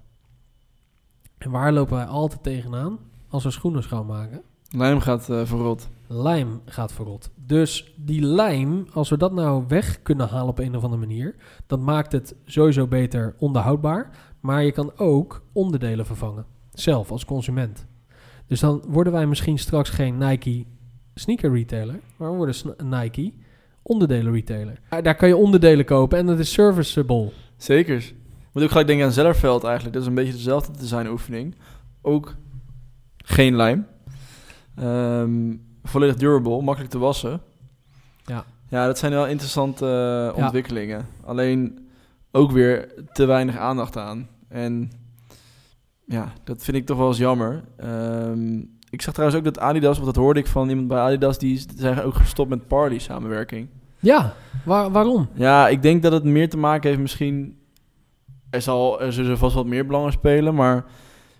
Speaker 1: En waar lopen wij altijd tegenaan als we schoenen schoonmaken?
Speaker 2: Lijm gaat eh, verrot.
Speaker 1: Lijm gaat verrot. Dus die lijm, als we dat nou weg kunnen halen op een of andere manier, dat maakt het sowieso beter onderhoudbaar. Maar je kan ook onderdelen vervangen. Zelf als consument. Dus dan worden wij misschien straks geen Nike sneaker retailer. Maar we worden sn- Nike onderdelen retailer. Ah, Daar- Daar kan je onderdelen kopen en dat is serviceable.
Speaker 2: Zekers. Moet ook gelijk denken aan Zellerveld eigenlijk. Dat is een beetje dezelfde designoefening. Ook geen lijm. Ehm, volledig durable, makkelijk te wassen.
Speaker 1: Ja.
Speaker 2: Ja, dat zijn wel interessante eh, ontwikkelingen. Alleen ook weer te weinig aandacht aan. En ja, dat vind ik toch wel eens jammer. Ehm, ik zag trouwens ook dat Adidas, of dat hoorde ik van iemand bij Adidas, die is- zijn ook gestopt met Parley samenwerking.
Speaker 1: Ja, waar- waarom?
Speaker 2: Ja, ik denk dat het meer te maken heeft misschien... Er, zal, er zullen vast wat meer belangen spelen, maar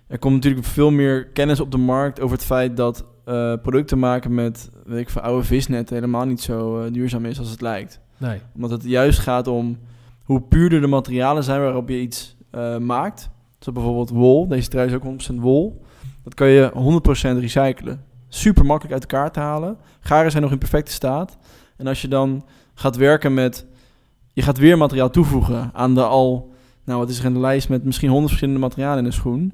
Speaker 2: er komt natuurlijk veel meer kennis op de markt over het feit dat eh, producten maken met weet ik, van oude visnetten helemaal niet zo eh, duurzaam is als het lijkt.
Speaker 1: Nee.
Speaker 2: Omdat het juist gaat om hoe puurder de materialen zijn waarop je iets eh, maakt. Zo bijvoorbeeld wol, deze trui is ook 100% wol. Dat kan je 100% recyclen. Super makkelijk uit elkaar te halen. Garen zijn nog in perfecte staat. En als je dan gaat werken met... Je gaat weer materiaal toevoegen aan de al... Nou, wat is er in de lijst met misschien 100 verschillende materialen in een schoen.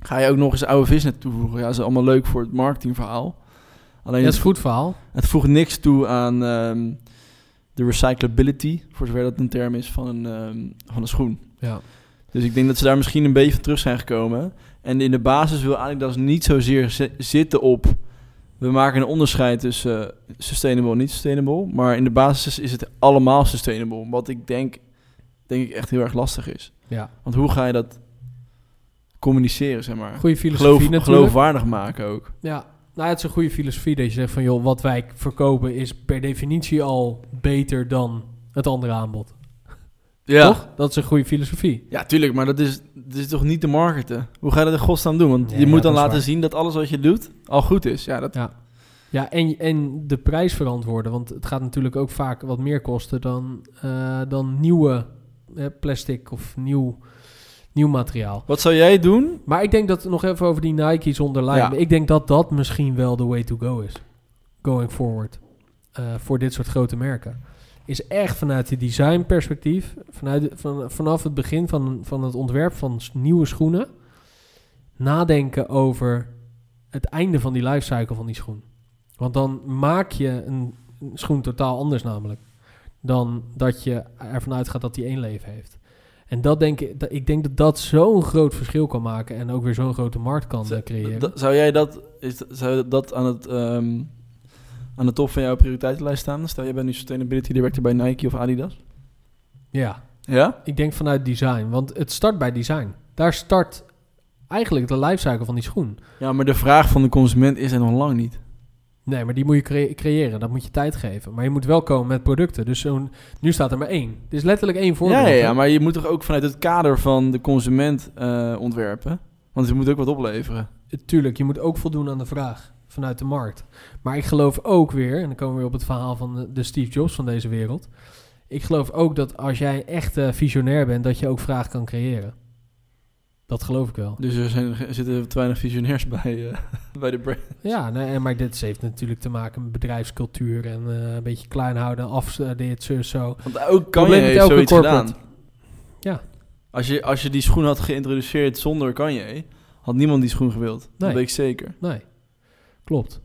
Speaker 2: Ga je ook nog eens oude visnet toevoegen. Ja, dat is allemaal leuk voor het marketingverhaal. Alleen
Speaker 1: Dat
Speaker 2: het
Speaker 1: is een goed verhaal.
Speaker 2: het voegt niks toe aan ehm, de recyclability, voor zover dat een term is, van een, ehm, van een schoen.
Speaker 1: Ja.
Speaker 2: Dus ik denk dat ze daar misschien een beetje van terug zijn gekomen. En in de basis wil Adidas niet zozeer zi- zitten op... We maken een onderscheid tussen eh, sustainable en niet sustainable. Maar in de basis is het allemaal sustainable. Wat ik denk, denk ik echt heel erg lastig is.
Speaker 1: ja.
Speaker 2: Want hoe ga je dat communiceren, zeg maar?
Speaker 1: Goede filosofie
Speaker 2: Geloof,
Speaker 1: natuurlijk.
Speaker 2: geloofwaardig maken ook.
Speaker 1: Ja, nou, het is een goede filosofie dat je zegt van joh, wat wij verkopen is per definitie al beter dan het andere aanbod. Toch? Dat is een goede filosofie.
Speaker 2: Ja, tuurlijk, maar dat is, dat is toch niet te marketen? Hoe ga je dat in godsnaam doen? Want
Speaker 1: Nee,
Speaker 2: je
Speaker 1: ja,
Speaker 2: moet
Speaker 1: dat
Speaker 2: dan
Speaker 1: is
Speaker 2: laten
Speaker 1: waar.
Speaker 2: zien dat alles wat je doet al goed is. Ja, dat,
Speaker 1: Ja, en, en de prijs verantwoorden, want het gaat natuurlijk ook vaak wat meer kosten dan, eh, dan nieuwe eh, plastic of nieuw, nieuw materiaal.
Speaker 2: Wat zou jij doen?
Speaker 1: Maar ik denk dat, nog even over die Nike's onder lijm,
Speaker 2: Ja.
Speaker 1: ik denk dat dat misschien wel de way to go is, going forward, eh, voor dit soort grote merken. Is echt vanuit het designperspectief, vanuit, van, vanaf het begin van, van het ontwerp van s- nieuwe schoenen, nadenken over het einde van die lifecycle van die schoen. Want dan maak je een, een schoen totaal anders namelijk, dan dat je ervan uitgaat dat die één leven heeft. En dat denk ik, dat- ik denk dat dat zo'n groot verschil kan maken en ook weer zo'n grote markt kan eh, creëren.
Speaker 2: Dat- Zou jij dat, is, dat- zou dat aan, het, ehm, aan de top van jouw prioriteitenlijst staan? Stel, jij bent nu Sustainability Director bij Nike of Adidas.
Speaker 1: ja.
Speaker 2: Ja?
Speaker 1: Ik denk vanuit design, want het start bij design. Daar start eigenlijk de lifecycle van die schoen.
Speaker 2: Ja, maar de vraag van de consument is er nog lang niet.
Speaker 1: Nee, maar die moet je cre- creëren. Dat moet je tijd geven. Maar je moet wel komen met producten. Dus zo'n, nu staat er maar één. Er is letterlijk één voorbeeld.
Speaker 2: Ja, ja, ja,
Speaker 1: hè?
Speaker 2: maar je moet toch ook vanuit het kader van de consument eh, ontwerpen? Want het moet ook wat opleveren.
Speaker 1: Tuurlijk, je moet ook voldoen aan de vraag vanuit de markt. Maar ik geloof ook weer, en dan komen we weer op het verhaal van de- de Steve Jobs van deze wereld. Ik geloof ook dat als jij echt eh, visionair bent, dat je ook vraag kan creëren. Dat geloof ik wel.
Speaker 2: Dus er, zijn, er zitten te weinig visionairs bij, eh, bij de brand.
Speaker 1: Ja, nee, en- maar dit heeft natuurlijk te maken met bedrijfscultuur en eh, een beetje klein houden, af eh, dit, zo, zo.
Speaker 2: Want ook kan je
Speaker 1: Probleem met
Speaker 2: heeft
Speaker 1: elke
Speaker 2: zoiets
Speaker 1: corporate.
Speaker 2: gedaan.
Speaker 1: Ja.
Speaker 2: Als je, als je die schoen had geïntroduceerd zonder Kanye, had niemand die schoen gewild. Dat
Speaker 1: Nee.
Speaker 2: weet ik zeker.
Speaker 1: Nee, klopt.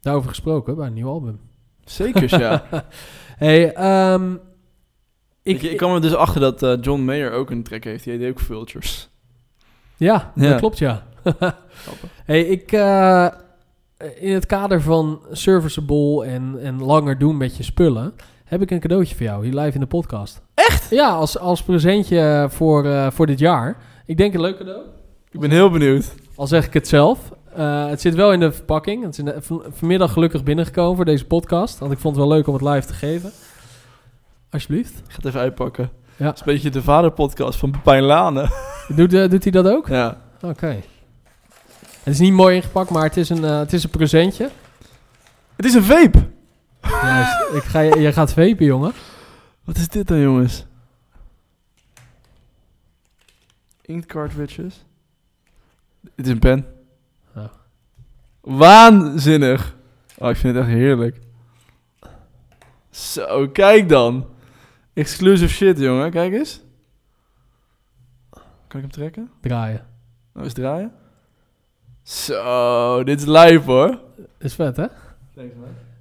Speaker 1: Daarover gesproken bij een nieuw album.
Speaker 2: Zekers, ja.
Speaker 1: hey, ehm, ik,
Speaker 2: ik, ik, kwam er dus achter dat eh, John Mayer ook een track heeft. Die heet ook Vultures.
Speaker 1: Ja,
Speaker 2: Ja.
Speaker 1: dat klopt, ja. hey, ik, eh, in het kader van serviceable en, en langer doen met je spullen, heb ik een cadeautje voor jou hier live in de podcast. Echt? Ja, als, als presentje voor, eh, voor dit jaar. Ik denk een leuk cadeau.
Speaker 2: Ik ben heel benieuwd.
Speaker 1: Al zeg ik het zelf. Eh, het zit wel in de verpakking. Het is in de- van- vanmiddag gelukkig binnengekomen voor deze podcast. Want ik vond het wel leuk om het live te geven. Alsjeblieft.
Speaker 2: Ik ga het even uitpakken.
Speaker 1: Ja.
Speaker 2: Het is een beetje de vaderpodcast van Pepijn Lane.
Speaker 1: Doet, eh, doet hij dat ook?
Speaker 2: ja.
Speaker 1: Oké. Het is niet mooi ingepakt, maar het is een, eh, het is een presentje.
Speaker 2: Het is een vape.
Speaker 1: Juist. Ik ga, je, je gaat vapen, jongen.
Speaker 2: Wat is dit dan, jongens? Inkt cartridges. Het is een pen.
Speaker 1: Oh.
Speaker 2: Waanzinnig. Oh, ik vind het echt heerlijk. Zo, kijk dan. Exclusive shit, jongen. Kijk eens. Kan ik hem trekken?
Speaker 1: Draaien.
Speaker 2: Nou, eens draaien. Zo, dit is live hoor.
Speaker 1: Is vet, hè?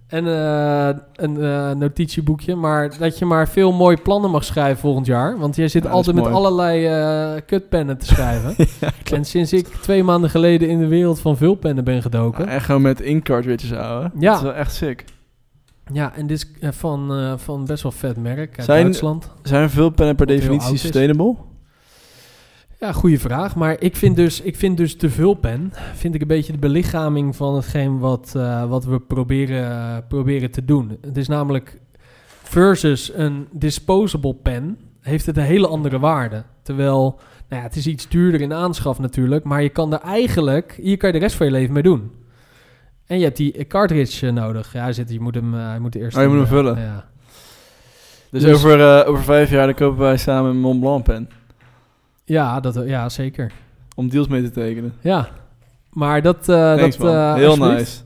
Speaker 1: En eh, een eh, notitieboekje. Maar dat je maar veel mooie plannen mag schrijven volgend jaar. Want jij zit
Speaker 2: Ja, dat is
Speaker 1: altijd met
Speaker 2: mooi.
Speaker 1: allerlei eh, kutpennen te schrijven. en sinds ik twee maanden geleden in de wereld van vulpennen ben gedoken.
Speaker 2: En gewoon met incartridges ouwe.
Speaker 1: Ja.
Speaker 2: Dat is wel echt sick.
Speaker 1: Ja, en dit is eh, van, eh, van best wel vet merk uit
Speaker 2: Zijn-
Speaker 1: Duitsland.
Speaker 2: Zijn veel pennen per
Speaker 1: Wat heel oud
Speaker 2: definitie
Speaker 1: is.
Speaker 2: sustainable?
Speaker 1: Ja, goede vraag. Maar ik vind dus, ik vind dus de vulpen vind ik een beetje de belichaming van hetgeen wat, eh, wat we proberen, proberen te doen. Het is namelijk versus een disposable pen heeft het een hele andere waarde. Terwijl, nou ja, het is iets duurder in aanschaf natuurlijk, maar je kan er eigenlijk, hier kan je de rest van je leven mee doen. En je hebt die eh, cartridge eh, nodig. Ja, hij zit, je moet hem, eh, hij moet eerst...
Speaker 2: Oh, je moet hem
Speaker 1: eh,
Speaker 2: vullen.
Speaker 1: Ja.
Speaker 2: Dus,
Speaker 1: Dus-
Speaker 2: over, eh, over vijf jaar dan kopen wij samen een Mont Blanc pen.
Speaker 1: Ja, dat, ja, zeker.
Speaker 2: Om deals mee te tekenen.
Speaker 1: Ja. Maar Eh, dat... eh,
Speaker 2: Thanks,
Speaker 1: dat
Speaker 2: man.
Speaker 1: eh,
Speaker 2: Heel
Speaker 1: alsjeblieft.
Speaker 2: nice.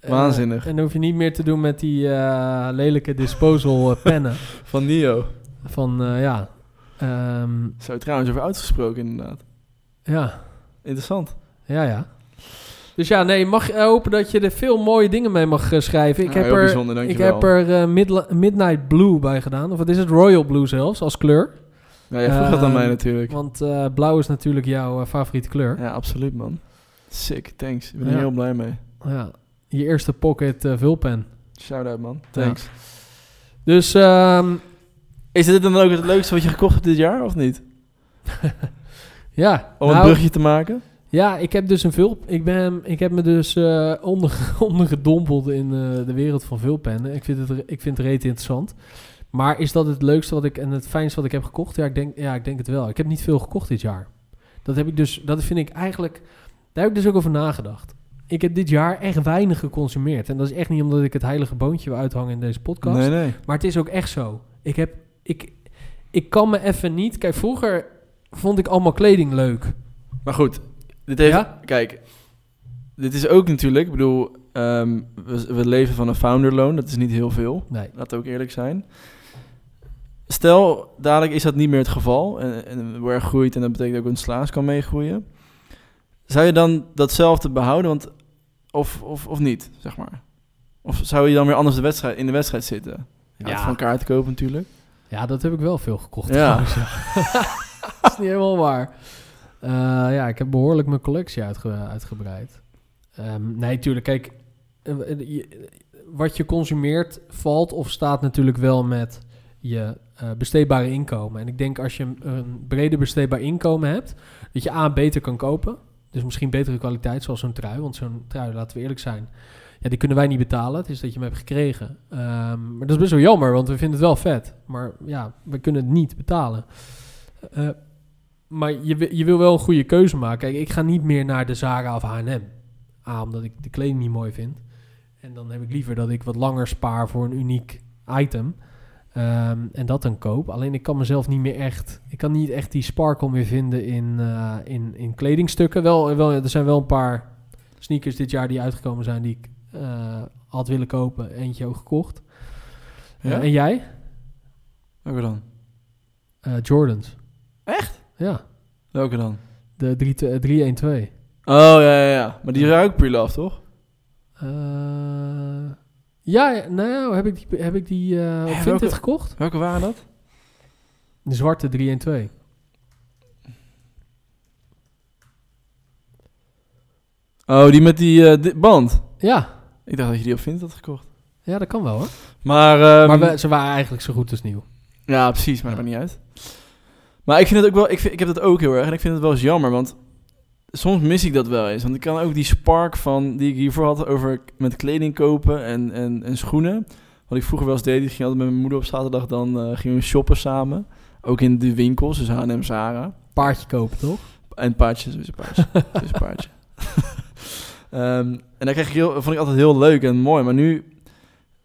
Speaker 1: Eh,
Speaker 2: Waanzinnig.
Speaker 1: en dan hoef je niet meer te doen met die eh, lelijke disposal eh, pennen.
Speaker 2: Van Nio.
Speaker 1: Van, eh, ja... ehm,
Speaker 2: Zo trouwens over uitgesproken inderdaad.
Speaker 1: ja,
Speaker 2: Interessant.
Speaker 1: ja, ja. Dus ja, nee, mag eh, hopen dat je er veel mooie dingen mee mag eh, schrijven. Ik
Speaker 2: Ah,
Speaker 1: heb
Speaker 2: heel
Speaker 1: er,
Speaker 2: bijzonder,
Speaker 1: ik
Speaker 2: dankjewel.
Speaker 1: heb er eh, Midla- Midnight Blue bij gedaan. Of wat is het? Royal Blue zelfs, als kleur.
Speaker 2: Ja, jij vroeg dat aan
Speaker 1: Ehm,
Speaker 2: mij natuurlijk.
Speaker 1: Want eh, blauw is natuurlijk jouw eh, favoriete kleur.
Speaker 2: Ja, absoluut man. Sick, thanks. Ik ben
Speaker 1: Ja.
Speaker 2: er heel blij mee.
Speaker 1: Ja. Je eerste pocket eh, vulpen.
Speaker 2: Shout-out man. Thanks.
Speaker 1: Dus ehm,
Speaker 2: Is dit dan ook het leukste wat je gekocht hebt dit jaar of niet?
Speaker 1: ja.
Speaker 2: Om
Speaker 1: nou,
Speaker 2: een brugje te maken?
Speaker 1: Ja, ik heb dus een vulp. Ik, ben, ik heb me dus eh onder, ondergedompeld in eh, de wereld van vulpennen. Ik vind het, re- ik vind het reet interessant. Maar is dat het leukste wat ik en het fijnste wat ik heb gekocht? Ja ik, denk, ja, ik denk het wel. Ik heb niet veel gekocht dit jaar. Dat heb ik dus, dat vind ik eigenlijk. Daar heb ik dus ook over nagedacht. Ik heb dit jaar echt weinig geconsumeerd. En dat is echt niet omdat ik het heilige boontje wil uithangen in deze podcast.
Speaker 2: Nee, nee.
Speaker 1: Maar het is ook echt zo. Ik heb, ik, ik kan me even niet. Kijk, vroeger vond ik allemaal kleding leuk.
Speaker 2: Maar goed, dit heeft...
Speaker 1: Ja?
Speaker 2: Kijk, dit is ook natuurlijk... Ik bedoel, ehm, we, we leven van een founder loan. Dat is niet heel veel.
Speaker 1: Nee.
Speaker 2: Laten we ook eerlijk zijn. Stel, dadelijk is dat niet meer het geval. En, en waar groeit, en dat betekent ook een slaas kan meegroeien. Zou je dan datzelfde behouden? Want, of, of, of niet, zeg maar. Of zou je dan weer anders de wedstrijd, in de wedstrijd zitten? Ja.
Speaker 1: Ja.
Speaker 2: Van kaart kopen natuurlijk.
Speaker 1: Ja, dat heb ik wel veel gekocht.
Speaker 2: Ja.
Speaker 1: trouwens, Ja. dat is niet helemaal waar. Eh, ja, ik heb behoorlijk mijn collectie uitge- uitgebreid. Ehm, nee, tuurlijk. Kijk, eh, eh, je- wat je consumeert valt of staat natuurlijk wel met je eh, besteedbare inkomen. En ik denk als je een, een breder besteedbaar inkomen hebt, dat je A, beter kan kopen. Dus misschien betere kwaliteit, zoals zo'n trui. Want zo'n trui, laten we eerlijk zijn, ja, die kunnen wij niet betalen. Het is dat je hem hebt gekregen. Ehm, maar dat is best wel jammer, want we vinden het wel vet. Maar ja, we kunnen het niet betalen. Eh, maar je, wi- je wil wel een goede keuze maken. Kijk, ik ga niet meer naar de Zara of H&M. A, omdat ik de kleding niet mooi vind. En dan heb ik liever dat ik wat langer spaar voor een uniek item. Ehm, en dat dan koop. Alleen ik kan mezelf niet meer echt... Ik kan niet echt die sparkle meer vinden in, eh, in, in kledingstukken. Wel, wel, er zijn wel een paar sneakers dit jaar die uitgekomen zijn... die ik eh, had willen kopen. Eentje ook gekocht.
Speaker 2: Ja?
Speaker 1: Eh, en jij?
Speaker 2: Welke dan?
Speaker 1: Eh, Jordans. Echt? Ja.
Speaker 2: Welke dan?
Speaker 1: De eh, 312.
Speaker 2: Oh, ja, ja, ja. Maar die ruikt pre-love, toch?
Speaker 1: Eh ja, nou heb ik die, heb ik die eh op
Speaker 2: Hè,
Speaker 1: Vinted
Speaker 2: welke-
Speaker 1: gekocht?
Speaker 2: Welke waren dat?
Speaker 1: De zwarte 312.
Speaker 2: Oh, die met die eh, di- band.
Speaker 1: Ja.
Speaker 2: Ik dacht dat je die op Vinted had gekocht.
Speaker 1: Ja, dat kan wel hoor.
Speaker 2: Maar, ehm,
Speaker 1: maar we- ze waren eigenlijk zo goed als nieuw.
Speaker 2: Ja, precies, maar
Speaker 1: Ja.
Speaker 2: dat maakt niet uit. Maar ik vind het ook wel, ik, vind, ik heb dat ook heel erg en ik vind het wel eens jammer, want soms mis ik dat wel eens. Want ik kan ook die spark van die ik hiervoor had over k- met kleding kopen en, en, en schoenen. Wat ik vroeger wel eens deed, ik ging altijd met mijn moeder op zaterdag, dan eh, gingen we shoppen samen. Ook in de winkels, dus H&M, Zara.
Speaker 1: Paardje kopen toch?
Speaker 2: En paardje, sowieso paardje. sowieso paardje. Ehm, en dat kreeg ik heel, vond ik altijd heel leuk en mooi. Maar nu,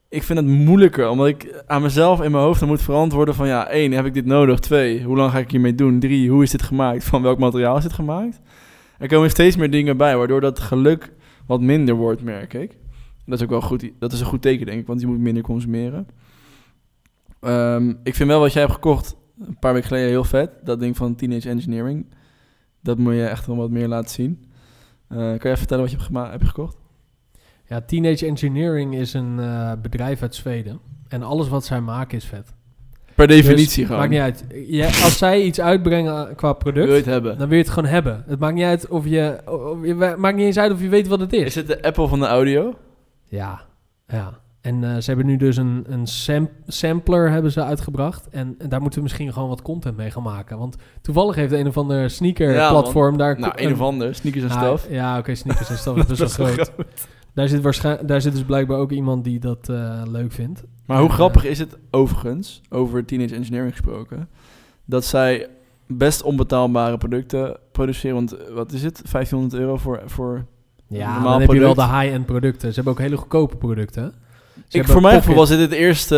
Speaker 2: ik vind het moeilijker. Omdat ik aan mezelf in mijn hoofd dan moet verantwoorden van... Ja, één, heb ik dit nodig? Twee, hoe lang ga ik hiermee doen? Drie, hoe is dit gemaakt? Van welk materiaal is dit gemaakt? Er komen steeds meer dingen bij, waardoor dat geluk wat minder wordt, merk ik. Dat is ook wel goed. i- Dat is een goed teken, denk ik, want je moet minder consumeren. Ehm, ik vind wel wat jij hebt gekocht een paar weken geleden heel vet. Dat ding van Teenage Engineering. Dat moet je echt wel wat meer laten zien. Eh, kan je vertellen wat je hebt, gema- heb je gekocht?
Speaker 1: Ja, Teenage Engineering is een eh, bedrijf uit Zweden. En alles wat zij maken is vet.
Speaker 2: Per
Speaker 1: Dus,
Speaker 2: definitie gewoon.
Speaker 1: Maakt niet uit. Je- als zij iets uitbrengen qua
Speaker 2: Wil je het
Speaker 1: product,
Speaker 2: hebben?
Speaker 1: dan wil je het gewoon hebben. Het maakt niet uit of je... Of je maakt niet eens uit of je weet wat het is.
Speaker 2: Is het de Apple van de audio?
Speaker 1: Ja, ja. En eh, ze hebben nu dus een, een sam- sampler hebben ze uitgebracht. En, en daar moeten we misschien gewoon wat content mee gaan maken. Want toevallig heeft een of ander
Speaker 2: Ja,
Speaker 1: sneaker-platform daar...
Speaker 2: nou, een of ander. Sneakers en
Speaker 1: Ah,
Speaker 2: stuff.
Speaker 1: Ja, oké, sneakers en stuff. dat is wel groot. Daar zit, waarschijn- daar zit dus blijkbaar ook iemand die dat eh, leuk vindt.
Speaker 2: Maar hoe
Speaker 1: Ja.
Speaker 2: grappig is het overigens, over teenage engineering gesproken, dat zij best onbetaalbare producten produceren. Want eh, wat is het? 1500 euro voor. voor
Speaker 1: Ja,
Speaker 2: Normaal
Speaker 1: dan heb je wel
Speaker 2: product.
Speaker 1: de high-end producten. Ze hebben ook hele goedkope producten. Ze
Speaker 2: ik,
Speaker 1: hebben
Speaker 2: voor mijn
Speaker 1: Pocket-
Speaker 2: gevoel was dit het eerste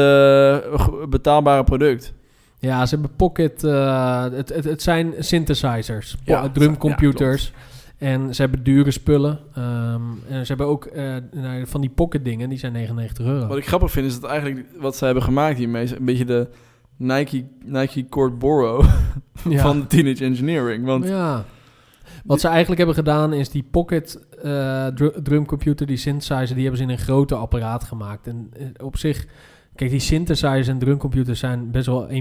Speaker 2: eh, ge- betaalbare product.
Speaker 1: Ja, ze hebben pocket... eh, het, het, het zijn synthesizers, po-
Speaker 2: Ja,
Speaker 1: drumcomputers. en ze hebben dure spullen. ehm, en ze hebben ook eh, nou, van die pocket dingen, die zijn 99 euro.
Speaker 2: Wat ik grappig vind is dat eigenlijk wat zij hebben gemaakt hiermee is een beetje de Nike, Nike Court Borrow
Speaker 1: ja.
Speaker 2: van teenage engineering. Want
Speaker 1: ja. Wat ze eigenlijk hebben gedaan is die pocket eh, dru- drumcomputer, die synthesizer, die hebben ze in een groter apparaat gemaakt. En eh, op zich, kijk, die synthesizers en drumcomputers zijn best wel 1.0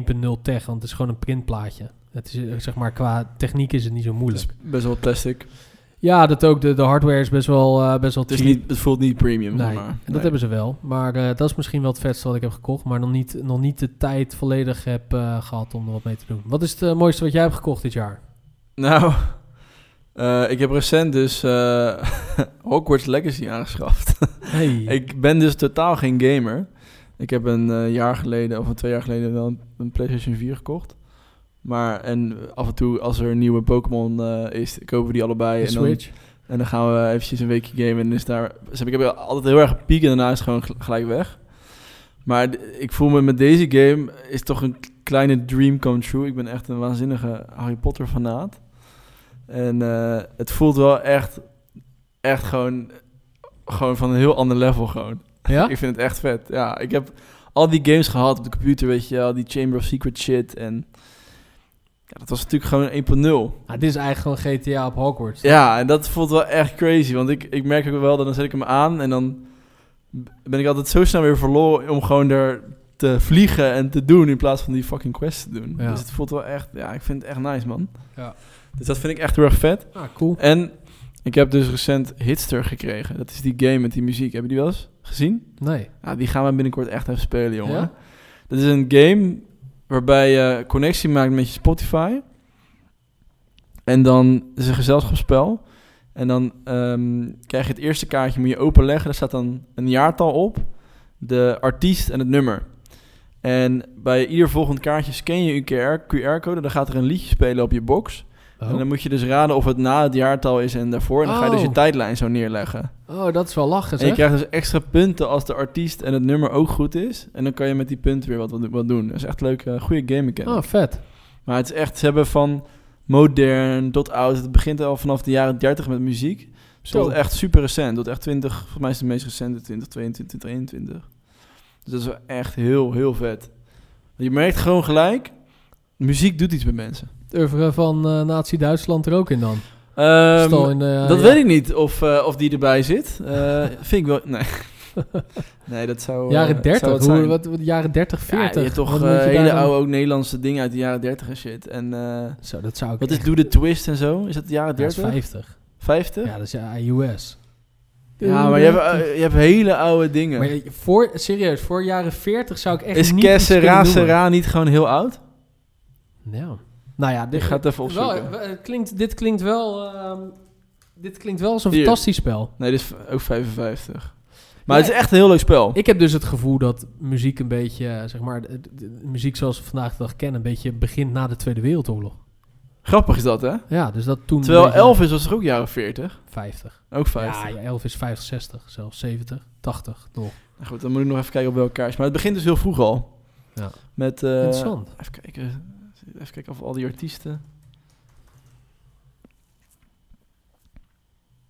Speaker 1: tech, want het is gewoon een printplaatje. Het is, eh, zeg maar, qua techniek is het niet zo
Speaker 2: het
Speaker 1: moeilijk.
Speaker 2: is best wel plastic.
Speaker 1: Ja, dat ook. De, de hardware is best wel, eh, best wel
Speaker 2: Het, is
Speaker 1: cheap.
Speaker 2: niet, het voelt niet premium.
Speaker 1: Nee,
Speaker 2: zeg maar.
Speaker 1: en dat
Speaker 2: Nee.
Speaker 1: hebben ze wel. Maar eh, dat is misschien wel het vetste wat ik heb gekocht. Maar nog niet, nog niet de tijd volledig heb eh, gehad om er wat mee te doen. Wat is het eh, mooiste wat jij hebt gekocht dit jaar?
Speaker 2: Nou, eh, ik heb recent dus eh, Hogwarts Legacy aangeschaft.
Speaker 1: Hey.
Speaker 2: Ik ben dus totaal geen gamer. Ik heb een eh, jaar geleden of een twee jaar geleden wel een, een PlayStation 4 gekocht. Maar en af en toe als er een nieuwe Pokémon eh, is, kopen we die allebei.
Speaker 1: de
Speaker 2: en, dan,
Speaker 1: Switch.
Speaker 2: en dan gaan we eventjes een weekje gamen. En is daar, dus heb ik heb altijd heel erg gepiekt en daarna is het gewoon gel- gelijk weg. Maar d- ik voel me met deze game is toch een kleine dream come true. Ik ben echt een waanzinnige Harry Potter fanaat. En eh, het voelt wel echt, echt gewoon, gewoon van een heel ander level gewoon.
Speaker 1: Ja?
Speaker 2: Ik vind het echt vet. Ja, ik heb al die games gehad op de computer, weet je wel. Die Chamber of Secret shit en... Ja, dat was natuurlijk gewoon 1.0.
Speaker 1: Ah, dit is eigenlijk gewoon GTA op Hogwarts.
Speaker 2: Ja, en dat voelt wel echt crazy. Want ik, ik merk ook wel dat dan zet ik hem aan en dan b- ben ik altijd zo snel weer verloren om gewoon er te vliegen en te doen in plaats van die fucking quest te doen.
Speaker 1: Ja.
Speaker 2: Dus het voelt wel echt... Ja, ik vind het echt nice, man.
Speaker 1: Ja.
Speaker 2: Dus dat vind ik echt heel erg vet.
Speaker 1: Ah, cool.
Speaker 2: En ik heb dus recent Hitster gekregen. Dat is die game met die muziek. Hebben jullie die wel eens gezien?
Speaker 1: Nee.
Speaker 2: Ja, die gaan we binnenkort echt even spelen, jongen.
Speaker 1: Ja?
Speaker 2: Dat is een game waarbij je connectie maakt met je Spotify. En dan het is een gezelschapsspel. En dan ehm, krijg je het eerste kaartje, moet je openleggen. Daar staat dan een jaartal op, de artiest en het nummer. En bij ieder volgend kaartje scan je een QR-code. Dan gaat er een liedje spelen op je box.
Speaker 1: Oh.
Speaker 2: En dan moet je dus raden of het na het jaartal is en daarvoor. En dan ga je dus je
Speaker 1: Oh.
Speaker 2: tijdlijn zo neerleggen.
Speaker 1: Oh, dat is wel lachen,
Speaker 2: En je
Speaker 1: zeg.
Speaker 2: krijgt dus extra punten als de artiest en het nummer ook goed is. En dan kan je met die punten weer wat, wat, wat doen. Dat is echt leuk. eh, goede game mechanic.
Speaker 1: Oh, vet.
Speaker 2: Maar het is echt, ze hebben van modern tot oud. Het begint al vanaf de jaren 30 met muziek. Dus
Speaker 1: Zo.
Speaker 2: dat is echt super recent. Dat is echt 20, volgens mij is het de meest recente 20, 22, 23. Dus dat is wel echt heel, heel vet. Je merkt gewoon gelijk, muziek doet iets met mensen.
Speaker 1: Het oeuvre van eh, Nazi-Duitsland er ook in dan.
Speaker 2: Ehm,
Speaker 1: Stal in, eh,
Speaker 2: dat
Speaker 1: ja.
Speaker 2: weet ik niet, of, eh, of die erbij zit. Eh, vind ik wel... Nee. nee, dat zou... eh,
Speaker 1: Jaren
Speaker 2: dat zou
Speaker 1: 30,
Speaker 2: het
Speaker 1: hoe,
Speaker 2: zijn.
Speaker 1: wat, wat, jaren 30, 40.
Speaker 2: Ja, je hebt toch
Speaker 1: Wat
Speaker 2: eh,
Speaker 1: moet je daar
Speaker 2: hele
Speaker 1: dan-
Speaker 2: oude ook Nederlandse dingen uit de jaren 30 en shit. En eh,
Speaker 1: Zo, dat zou ik
Speaker 2: wat is
Speaker 1: echt-
Speaker 2: Do The Twist en zo? Is dat de jaren
Speaker 1: Ja, dat is
Speaker 2: 30?
Speaker 1: 50.
Speaker 2: 50?
Speaker 1: Ja, dat is eh, ja, US.
Speaker 2: Ja, maar je hebt, eh, je hebt hele oude dingen.
Speaker 1: Maar je- voor, serieus, voor jaren 40 zou ik echt
Speaker 2: is
Speaker 1: niet iets
Speaker 2: Kessera
Speaker 1: kunnen noemen.
Speaker 2: Sera niet gewoon heel oud?
Speaker 1: Ja. Nou ja,
Speaker 2: Ik
Speaker 1: dit,
Speaker 2: ga het even
Speaker 1: wel,
Speaker 2: opzoeken.
Speaker 1: eh, het klinkt, dit klinkt wel... ehm, dit klinkt wel als een
Speaker 2: Hier.
Speaker 1: fantastisch spel.
Speaker 2: Nee, dit is v- ook 55. Maar
Speaker 1: Ja,
Speaker 2: het is echt een heel leuk spel.
Speaker 1: Ik heb dus het gevoel dat muziek een beetje, eh, zeg maar, de, de- de muziek zoals we vandaag de dag kennen, een beetje begint na de Tweede Wereldoorlog.
Speaker 2: Grappig is dat, hè?
Speaker 1: Ja, dus dat toen.
Speaker 2: Terwijl
Speaker 1: een beetje-
Speaker 2: Elvis was toch ook jaren 40?
Speaker 1: 50.
Speaker 2: Ook 50.
Speaker 1: Ja, ja, 11 is 50, 60, zelfs 70, 80 nog.
Speaker 2: Nou goed, dan moet ik nog even kijken op welke kaars. Maar het begint dus heel vroeg al.
Speaker 1: Ja.
Speaker 2: Met, eh,
Speaker 1: Interessant.
Speaker 2: Even kijken. Even kijken of al die artiesten.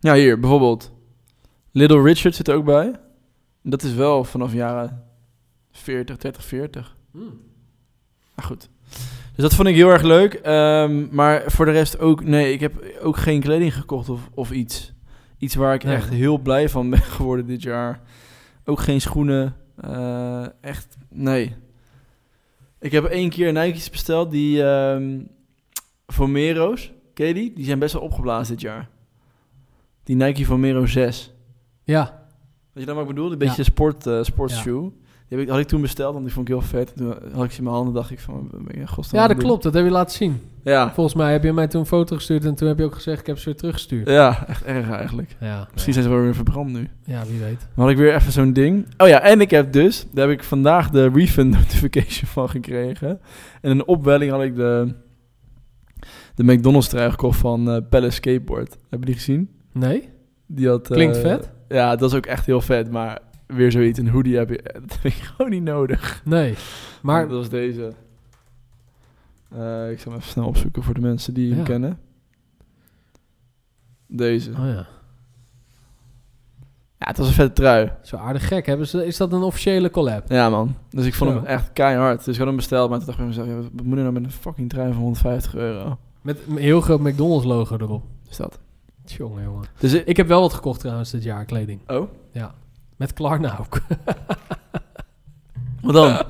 Speaker 2: Ja, hier bijvoorbeeld. Little Richard zit er ook bij. Dat is wel vanaf jaren 40, 30, 40.
Speaker 1: Hmm.
Speaker 2: Maar goed. Dus dat vond ik heel erg leuk. Ehm, maar voor de rest ook, nee, ik heb ook geen kleding gekocht of, of iets. Iets waar ik
Speaker 1: Nee.
Speaker 2: echt heel blij van ben geworden dit jaar. Ook geen schoenen. Eh, echt, nee. Ik heb één keer Nike's besteld, die ehm Vomero's. Ken je die? Die zijn best wel opgeblazen dit jaar. Die Nike Vomero 6.
Speaker 1: Ja,
Speaker 2: Weet je dan wat ik bedoel? Een beetje sport, eh, sportshoe. Die heb ik, had ik toen besteld, want die vond ik heel vet. En Toen had ik ze in mijn handen dacht ik van, ben ik in
Speaker 1: ja
Speaker 2: godsnaam
Speaker 1: dat
Speaker 2: aan het doen?
Speaker 1: klopt. Dat heb je laten zien.
Speaker 2: Ja,
Speaker 1: Volgens mij heb je mij toen een foto gestuurd en toen heb je ook gezegd, ik heb ze weer teruggestuurd.
Speaker 2: ja, echt erg eigenlijk.
Speaker 1: Ja,
Speaker 2: Misschien zijn ze wel weer verbrand nu.
Speaker 1: ja wie weet.
Speaker 2: Dan had ik weer even zo'n ding. Oh ja, en ik heb dus, daar heb ik vandaag de refund notification van gekregen. En een opwelling had ik de, de McDonald's trui gekocht van eh, Palace Skateboard. Heb je die gezien?
Speaker 1: Nee?
Speaker 2: Die had, eh,
Speaker 1: Klinkt vet.
Speaker 2: Ja, dat is ook echt heel vet, maar weer zoiets. Een hoodie heb je, dat heb ik gewoon niet nodig.
Speaker 1: Nee. Maar
Speaker 2: Dat was deze. Eh, ik zal hem even snel opzoeken voor de mensen die hem
Speaker 1: Ja.
Speaker 2: kennen. Deze.
Speaker 1: Oh ja.
Speaker 2: Ja, het was een vette trui.
Speaker 1: Zo aardig gek. Hebben ze, is dat een officiële collab?
Speaker 2: Ja, man. Dus ik vond
Speaker 1: Zo.
Speaker 2: hem echt keihard. Dus ik had hem besteld, maar toen dacht ik bij mezelf... Ja, wat wat moet er nou met een fucking trui van 150 euro?
Speaker 1: Met een heel groot McDonald's logo erop.
Speaker 2: Dus dat.
Speaker 1: Tjonge jongen.
Speaker 2: Dus ik...
Speaker 1: Ik heb wel wat gekocht trouwens dit jaar, kleding.
Speaker 2: Oh?
Speaker 1: Met Klarna ook.
Speaker 2: Wat dan?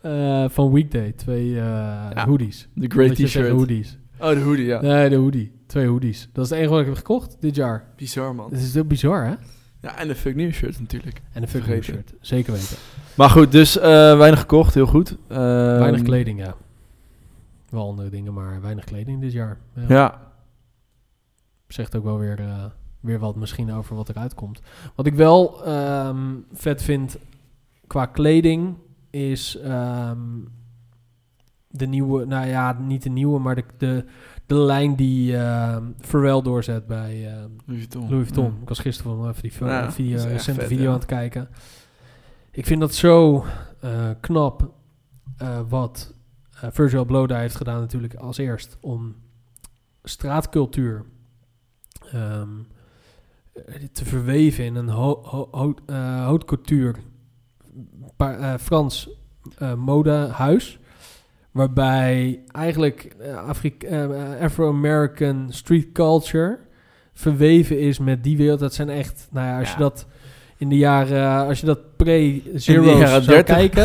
Speaker 1: Eh, van Weekday. Twee eh, hoodies.
Speaker 2: De great
Speaker 1: Dat je zegt
Speaker 2: t-shirt.
Speaker 1: hoodies.
Speaker 2: Oh, de hoodie, ja.
Speaker 1: Nee, de hoodie. Twee hoodies. Dat is het enige wat ik heb gekocht dit jaar.
Speaker 2: Bizar, man.
Speaker 1: Dat is heel bizar, hè?
Speaker 2: Ja, en de fuck new shirt natuurlijk.
Speaker 1: En een fucking
Speaker 2: Vergeten.
Speaker 1: shirt. Zeker weten.
Speaker 2: Maar goed, dus eh, weinig gekocht. Heel goed. Ehm,
Speaker 1: weinig kleding, ja. Wel andere dingen, maar weinig kleding dit jaar. Ja.
Speaker 2: Ja.
Speaker 1: Zegt ook wel weer, eh, weer wat misschien over wat eruit komt. Wat ik wel ehm, vet vind qua kleding is ehm, de nieuwe, nou ja, niet de nieuwe, maar de, de, de lijn die ehm Pharrell doorzet bij ehm,
Speaker 2: Louis Vuitton.
Speaker 1: Louis Vuitton. Ik was gisteren wel even die fil-
Speaker 2: Ja,
Speaker 1: video,
Speaker 2: dat is echt
Speaker 1: recente
Speaker 2: vet,
Speaker 1: video
Speaker 2: ja.
Speaker 1: aan het kijken. Ik vind dat zo eh, knap eh, wat eh, Virgil Bloda heeft gedaan natuurlijk als eerst om straatcultuur ehm, eh, te verweven in een ho- ho- ho- eh, haute couture pa- eh, Frans eh, modehuis. Waarbij eigenlijk eh, Afri- eh, Afro-American street culture verweven is met die wereld. Dat zijn echt, nou ja, als
Speaker 2: Ja.
Speaker 1: je dat in de jaren, als je dat pre-zero
Speaker 2: In de jaren
Speaker 1: zou
Speaker 2: 30.
Speaker 1: kijken.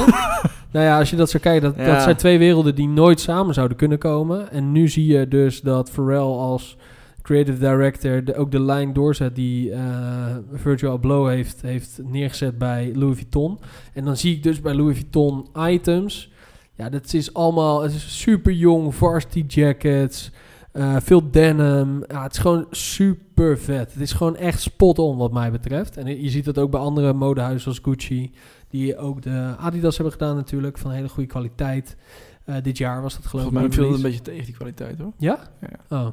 Speaker 1: nou ja, als je dat zou kijken, dat,
Speaker 2: Ja.
Speaker 1: dat zijn twee werelden die nooit samen zouden kunnen komen. En nu zie je dus dat Pharrell als creative director de- ook de lijn doorzet die eh, Virgil Abloh heeft, heeft neergezet bij Louis Vuitton. En dan zie ik dus bij Louis Vuitton items. Ja, dat is allemaal het is super jong, varsity jackets, eh, veel denim. Ja, het is gewoon super vet. Het is gewoon echt spot on wat mij betreft. En je ziet dat ook bij andere modehuizen als Gucci, die ook de Adidas hebben gedaan natuurlijk, van hele goede kwaliteit. Eh, dit jaar was dat geloof
Speaker 2: Volgens
Speaker 1: ik.
Speaker 2: mij
Speaker 1: de
Speaker 2: viel het een
Speaker 1: release.
Speaker 2: beetje tegen die kwaliteit, hoor.
Speaker 1: Oh.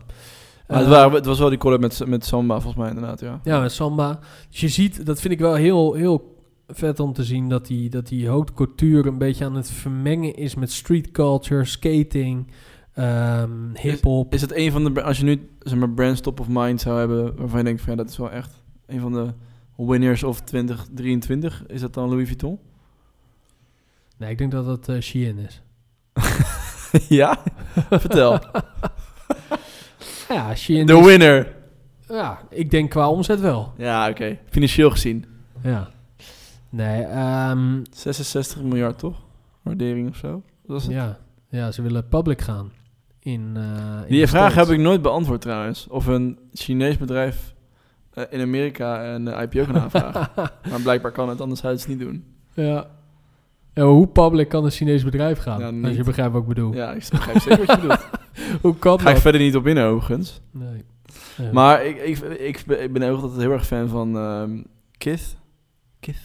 Speaker 2: Maar het,
Speaker 1: Eh,
Speaker 2: waren, het was wel die collab met, met Samba, volgens mij inderdaad, ja.
Speaker 1: Ja, met Samba. Dus je ziet, dat vind ik wel heel, heel vet om te zien... dat die, dat die haute couture een beetje aan het vermengen is... met street culture, skating, ehm hip-hop.
Speaker 2: Is het een van de, als je nu zeg maar brands top of mind zou hebben, waarvan je denkt van ja, dat is wel echt een van de winners of 2023, is dat dan Louis Vuitton?
Speaker 1: Nee, ik denk dat dat eh Shein is.
Speaker 2: ja? Vertel.
Speaker 1: Ja, Shein
Speaker 2: De
Speaker 1: is-
Speaker 2: winner.
Speaker 1: Ja, ik denk qua omzet wel.
Speaker 2: Ja, oké. Financieel gezien.
Speaker 1: Ja. Nee, ehm,
Speaker 2: 66 miljard toch? Waardering of zo? Wat Was het?
Speaker 1: ja. ja, ze willen public gaan. In, eh, in
Speaker 2: Die
Speaker 1: de
Speaker 2: vraag
Speaker 1: States.
Speaker 2: heb ik nooit beantwoord trouwens. Of een Chinees bedrijf eh, in Amerika een eh, IPO kan aanvragen. maar blijkbaar kan het, anders zou het het niet doen.
Speaker 1: Ja. Ja, hoe public kan een Chinees bedrijf gaan?
Speaker 2: Ja,
Speaker 1: als
Speaker 2: niet.
Speaker 1: je begrijpt wat ik bedoel.
Speaker 2: Ja, ik begrijp zeker wat je bedoelt.
Speaker 1: Hoe kan
Speaker 2: Ga ik
Speaker 1: dat?
Speaker 2: verder niet op in overigens.
Speaker 1: Nee. Ja.
Speaker 2: Maar ik, ik, ik, ben- ik ben ook altijd heel erg fan van ehm Kith. Kith?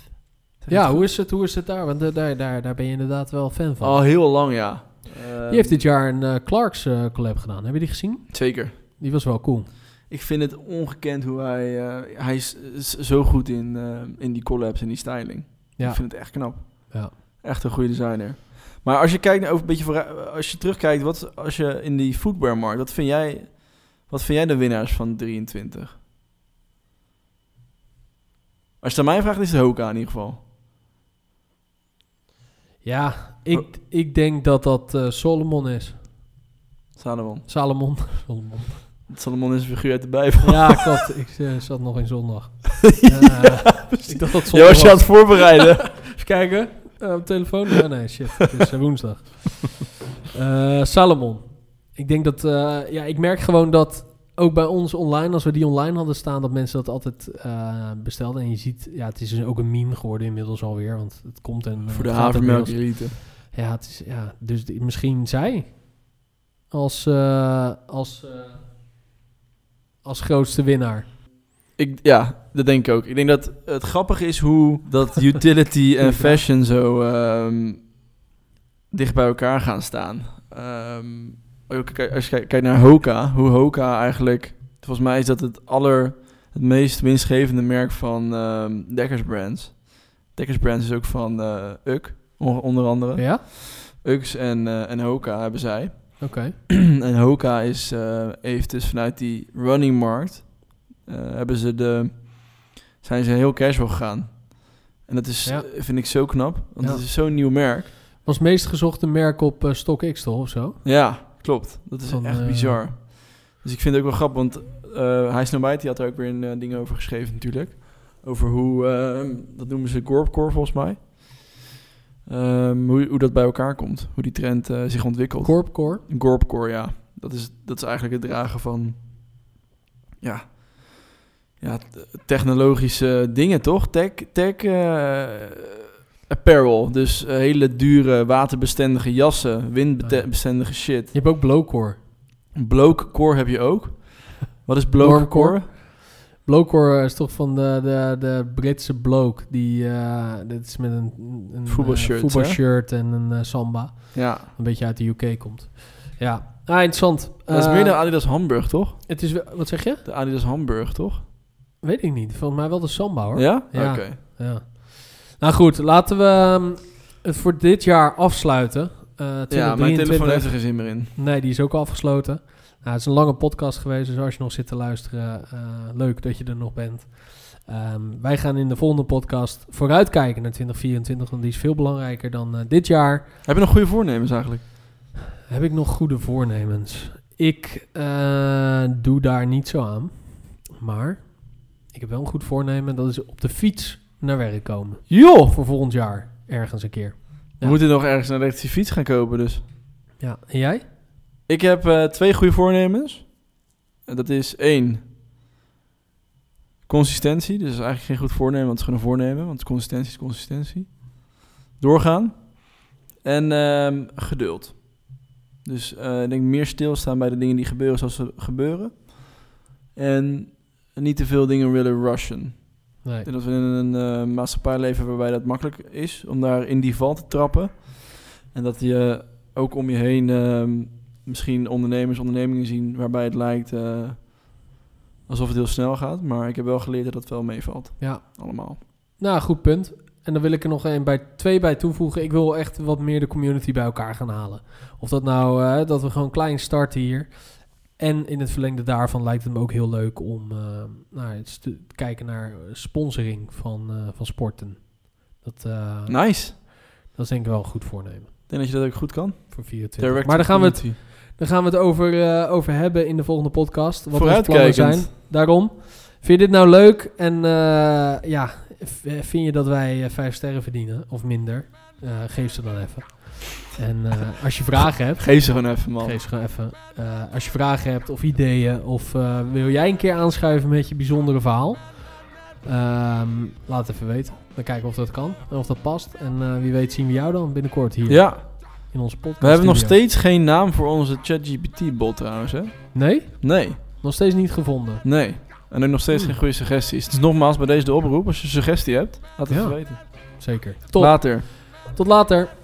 Speaker 1: Ja, hoe is het, hoe is het daar? Want eh, daar, daar, daar ben je inderdaad wel fan van.
Speaker 2: Al heel lang, Oh, ja. Ehm,
Speaker 1: die heeft dit jaar een eh, Clarks eh, collab gedaan. Heb je die gezien?
Speaker 2: Zeker.
Speaker 1: Die was wel cool.
Speaker 2: Ik vind het ongekend hoe hij... eh, hij is, is zo goed in, eh, in die collabs en die styling.
Speaker 1: Ja.
Speaker 2: Ik vind het echt knap.
Speaker 1: Ja.
Speaker 2: Echt een goede designer. Maar als je kijkt naar over een beetje vooruit, als je terugkijkt, wat als je in die footwearmarkt, wat vind jij, wat vind jij de winnaars van 23? Als je het aan mij vraagt, is het Hoka in ieder geval.
Speaker 1: Ja, ik, ik denk dat dat eh, Solomon is.
Speaker 2: Salomon.
Speaker 1: Salomon. Salomon.
Speaker 2: Salomon is een figuur uit de Bijbel.
Speaker 1: Ja, klopt. Ik eh, zat nog in zondag. Eh, ik dacht dat
Speaker 2: Je
Speaker 1: zondag
Speaker 2: was je aan
Speaker 1: was.
Speaker 2: het voorbereiden.
Speaker 1: Even kijken. Eh, op telefoon? Ja, nee, shit. Het is eh, woensdag. Eh, Salomon. Ik denk dat... eh, ja, ik merk gewoon dat ook bij ons online, als we die online hadden staan, dat mensen dat altijd eh, bestelden. En je ziet, ja, het is dus ook een meme geworden inmiddels alweer, want het komt en... eh,
Speaker 2: Voor de
Speaker 1: het gaat ook
Speaker 2: havermelk
Speaker 1: inmiddels-
Speaker 2: elite.
Speaker 1: Ja, het is, ja dus die- misschien zij als, eh, als, eh, als grootste winnaar.
Speaker 2: Ik, ja, dat denk ik ook. Ik denk dat het grappige is hoe dat utility en fashion zo ehm, dicht bij elkaar gaan staan. Ehm, ook kijk- als je kijkt kijkt naar Hoka, hoe Hoka eigenlijk... Volgens mij is dat het aller, het meest winstgevende merk van ehm Dekkers Brands. Dekkers Brands is ook van eh UGG, on- onder andere.
Speaker 1: Ja?
Speaker 2: Ux en, eh, en Hoka hebben zij.
Speaker 1: Oké.
Speaker 2: en Hoka is, eh, heeft dus vanuit die running markt... eh, hebben ze de, zijn ze heel casual gegaan. En dat is,
Speaker 1: Ja.
Speaker 2: eh, vind ik zo knap. Want
Speaker 1: Ja.
Speaker 2: het is zo'n nieuw merk.
Speaker 1: Was het meest gezochte merk op eh, StockX toch of zo?
Speaker 2: Ja, klopt. Dat is
Speaker 1: Van,
Speaker 2: echt
Speaker 1: eh,
Speaker 2: bizar. Dus ik vind het ook wel grappig, want eh hij Snowbite die had er ook weer een eh, ding over geschreven natuurlijk. Over hoe, ehm, dat noemen ze Gorpcore volgens mij. Ehm, hoe, hoe dat bij elkaar komt. Hoe die trend eh, zich ontwikkelt.
Speaker 1: Corpcore.
Speaker 2: Een Gorpcore, ja. Dat is, dat is eigenlijk het dragen van... Ja... Ja, t- technologische dingen, toch? Tech... tech eh, apparel. Dus eh, hele dure, waterbestendige jassen. Windbestendige shit.
Speaker 1: Je hebt ook Blowcore.
Speaker 2: Blokecore heb je ook. Wat is blokecore?
Speaker 1: Normcore. Blowcore is toch van de, de, de Britse bloke. Die, eh, dat is met een, een eh,
Speaker 2: Voetbalshirt, hè?
Speaker 1: voetbalshirt en een eh, samba.
Speaker 2: Ja.
Speaker 1: Een beetje uit de UK komt. Ja, ah, interessant.
Speaker 2: Dat is
Speaker 1: Eh,
Speaker 2: meer de Adidas Hamburg, toch?
Speaker 1: het is, wel- wat zeg je?
Speaker 2: De Adidas Hamburg, toch?
Speaker 1: Weet ik niet. Volgens mij wel de samba hoor.
Speaker 2: Ja?
Speaker 1: Ja.
Speaker 2: Oké.
Speaker 1: Ja. Nou goed, laten we ehm, het voor dit jaar afsluiten. Eh
Speaker 2: Ja, mijn
Speaker 1: 2023.
Speaker 2: telefoon heeft er geen zin meer in.
Speaker 1: Nee, die is ook al afgesloten. Nou, het is een lange podcast geweest, dus als je nog zit te luisteren, eh, leuk dat je er nog bent. Ehm, wij gaan in de volgende podcast vooruitkijken naar 2024, want die is veel belangrijker dan eh, dit jaar.
Speaker 2: Heb je nog goede voornemens eigenlijk?
Speaker 1: Heb ik nog goede voornemens? Ik eh, doe daar niet zo aan, maar ik heb wel een goed voornemen. Dat is op de fiets naar werk komen.
Speaker 2: Joh!
Speaker 1: Voor volgend jaar, ergens een keer.
Speaker 2: We moeten nog ergens een elektrische fiets gaan kopen, dus...
Speaker 1: Ja, en jij?
Speaker 2: Ik heb eh, twee goede voornemens. En dat is één. Consistentie. Dus dat is eigenlijk geen goed voornemen, want het is gewoon een voornemen. Want consistentie is consistentie. Doorgaan. En ehm, geduld. Dus eh, ik denk meer stilstaan bij de dingen die gebeuren zoals ze gebeuren. En niet te veel dingen willen rushen.
Speaker 1: Nee.
Speaker 2: Ik denk dat we in een eh, maatschappij leven waarbij dat makkelijk is om daar in die val te trappen. En dat je ook om je heen ehm, misschien ondernemers, ondernemingen zien waarbij het lijkt eh, alsof het heel snel gaat. Maar ik heb wel geleerd dat dat wel meevalt,
Speaker 1: Ja,
Speaker 2: allemaal.
Speaker 1: Nou, goed punt. En dan wil ik er nog een bij, twee bij toevoegen. Ik wil echt wat meer de community bij elkaar gaan halen. Of dat nou, eh, dat we gewoon klein starten hier. En in het verlengde daarvan lijkt het me ook heel leuk om eh, nou, eens te kijken naar sponsoring van, eh, van sporten. Dat, eh,
Speaker 2: Nice.
Speaker 1: dat is denk ik wel een goed voornemen
Speaker 2: Ik denk dat je dat ook goed kan.
Speaker 1: voor 24.
Speaker 2: Direct
Speaker 1: maar daar
Speaker 2: to
Speaker 1: gaan we het,
Speaker 2: community.
Speaker 1: daar gaan we het over, eh, over hebben in de volgende podcast. Wat onze plannen
Speaker 2: Vooruitkijkend.
Speaker 1: zijn. Daarom. Vind je dit nou leuk? En eh, ja, v- eh, vind je dat wij eh, vijf sterren verdienen of minder? Eh, geef ze dan even. En eh, als je vragen hebt,
Speaker 2: Geef ze gewoon even, man.
Speaker 1: geef ze gewoon even. Eh, als je vragen hebt of ideeën, of eh, wil jij een keer aanschuiven met je bijzondere verhaal? Ehm, laat het even weten. Dan kijken we of dat kan en of dat past. En eh, wie weet zien we jou dan binnenkort hier
Speaker 2: Ja,
Speaker 1: in onze podcast.
Speaker 2: we hebben nog
Speaker 1: studio.
Speaker 2: steeds geen naam voor onze ChatGPT-bot trouwens, hè?
Speaker 1: Nee?
Speaker 2: Nee.
Speaker 1: Nog steeds niet gevonden.
Speaker 2: Nee. En ook nog steeds
Speaker 1: Hmm.
Speaker 2: geen goede suggesties. Dus nogmaals, bij deze de oproep. Als je een suggestie hebt, laat het
Speaker 1: Ja.
Speaker 2: even weten.
Speaker 1: Zeker. Top.
Speaker 2: Later.
Speaker 1: Tot later.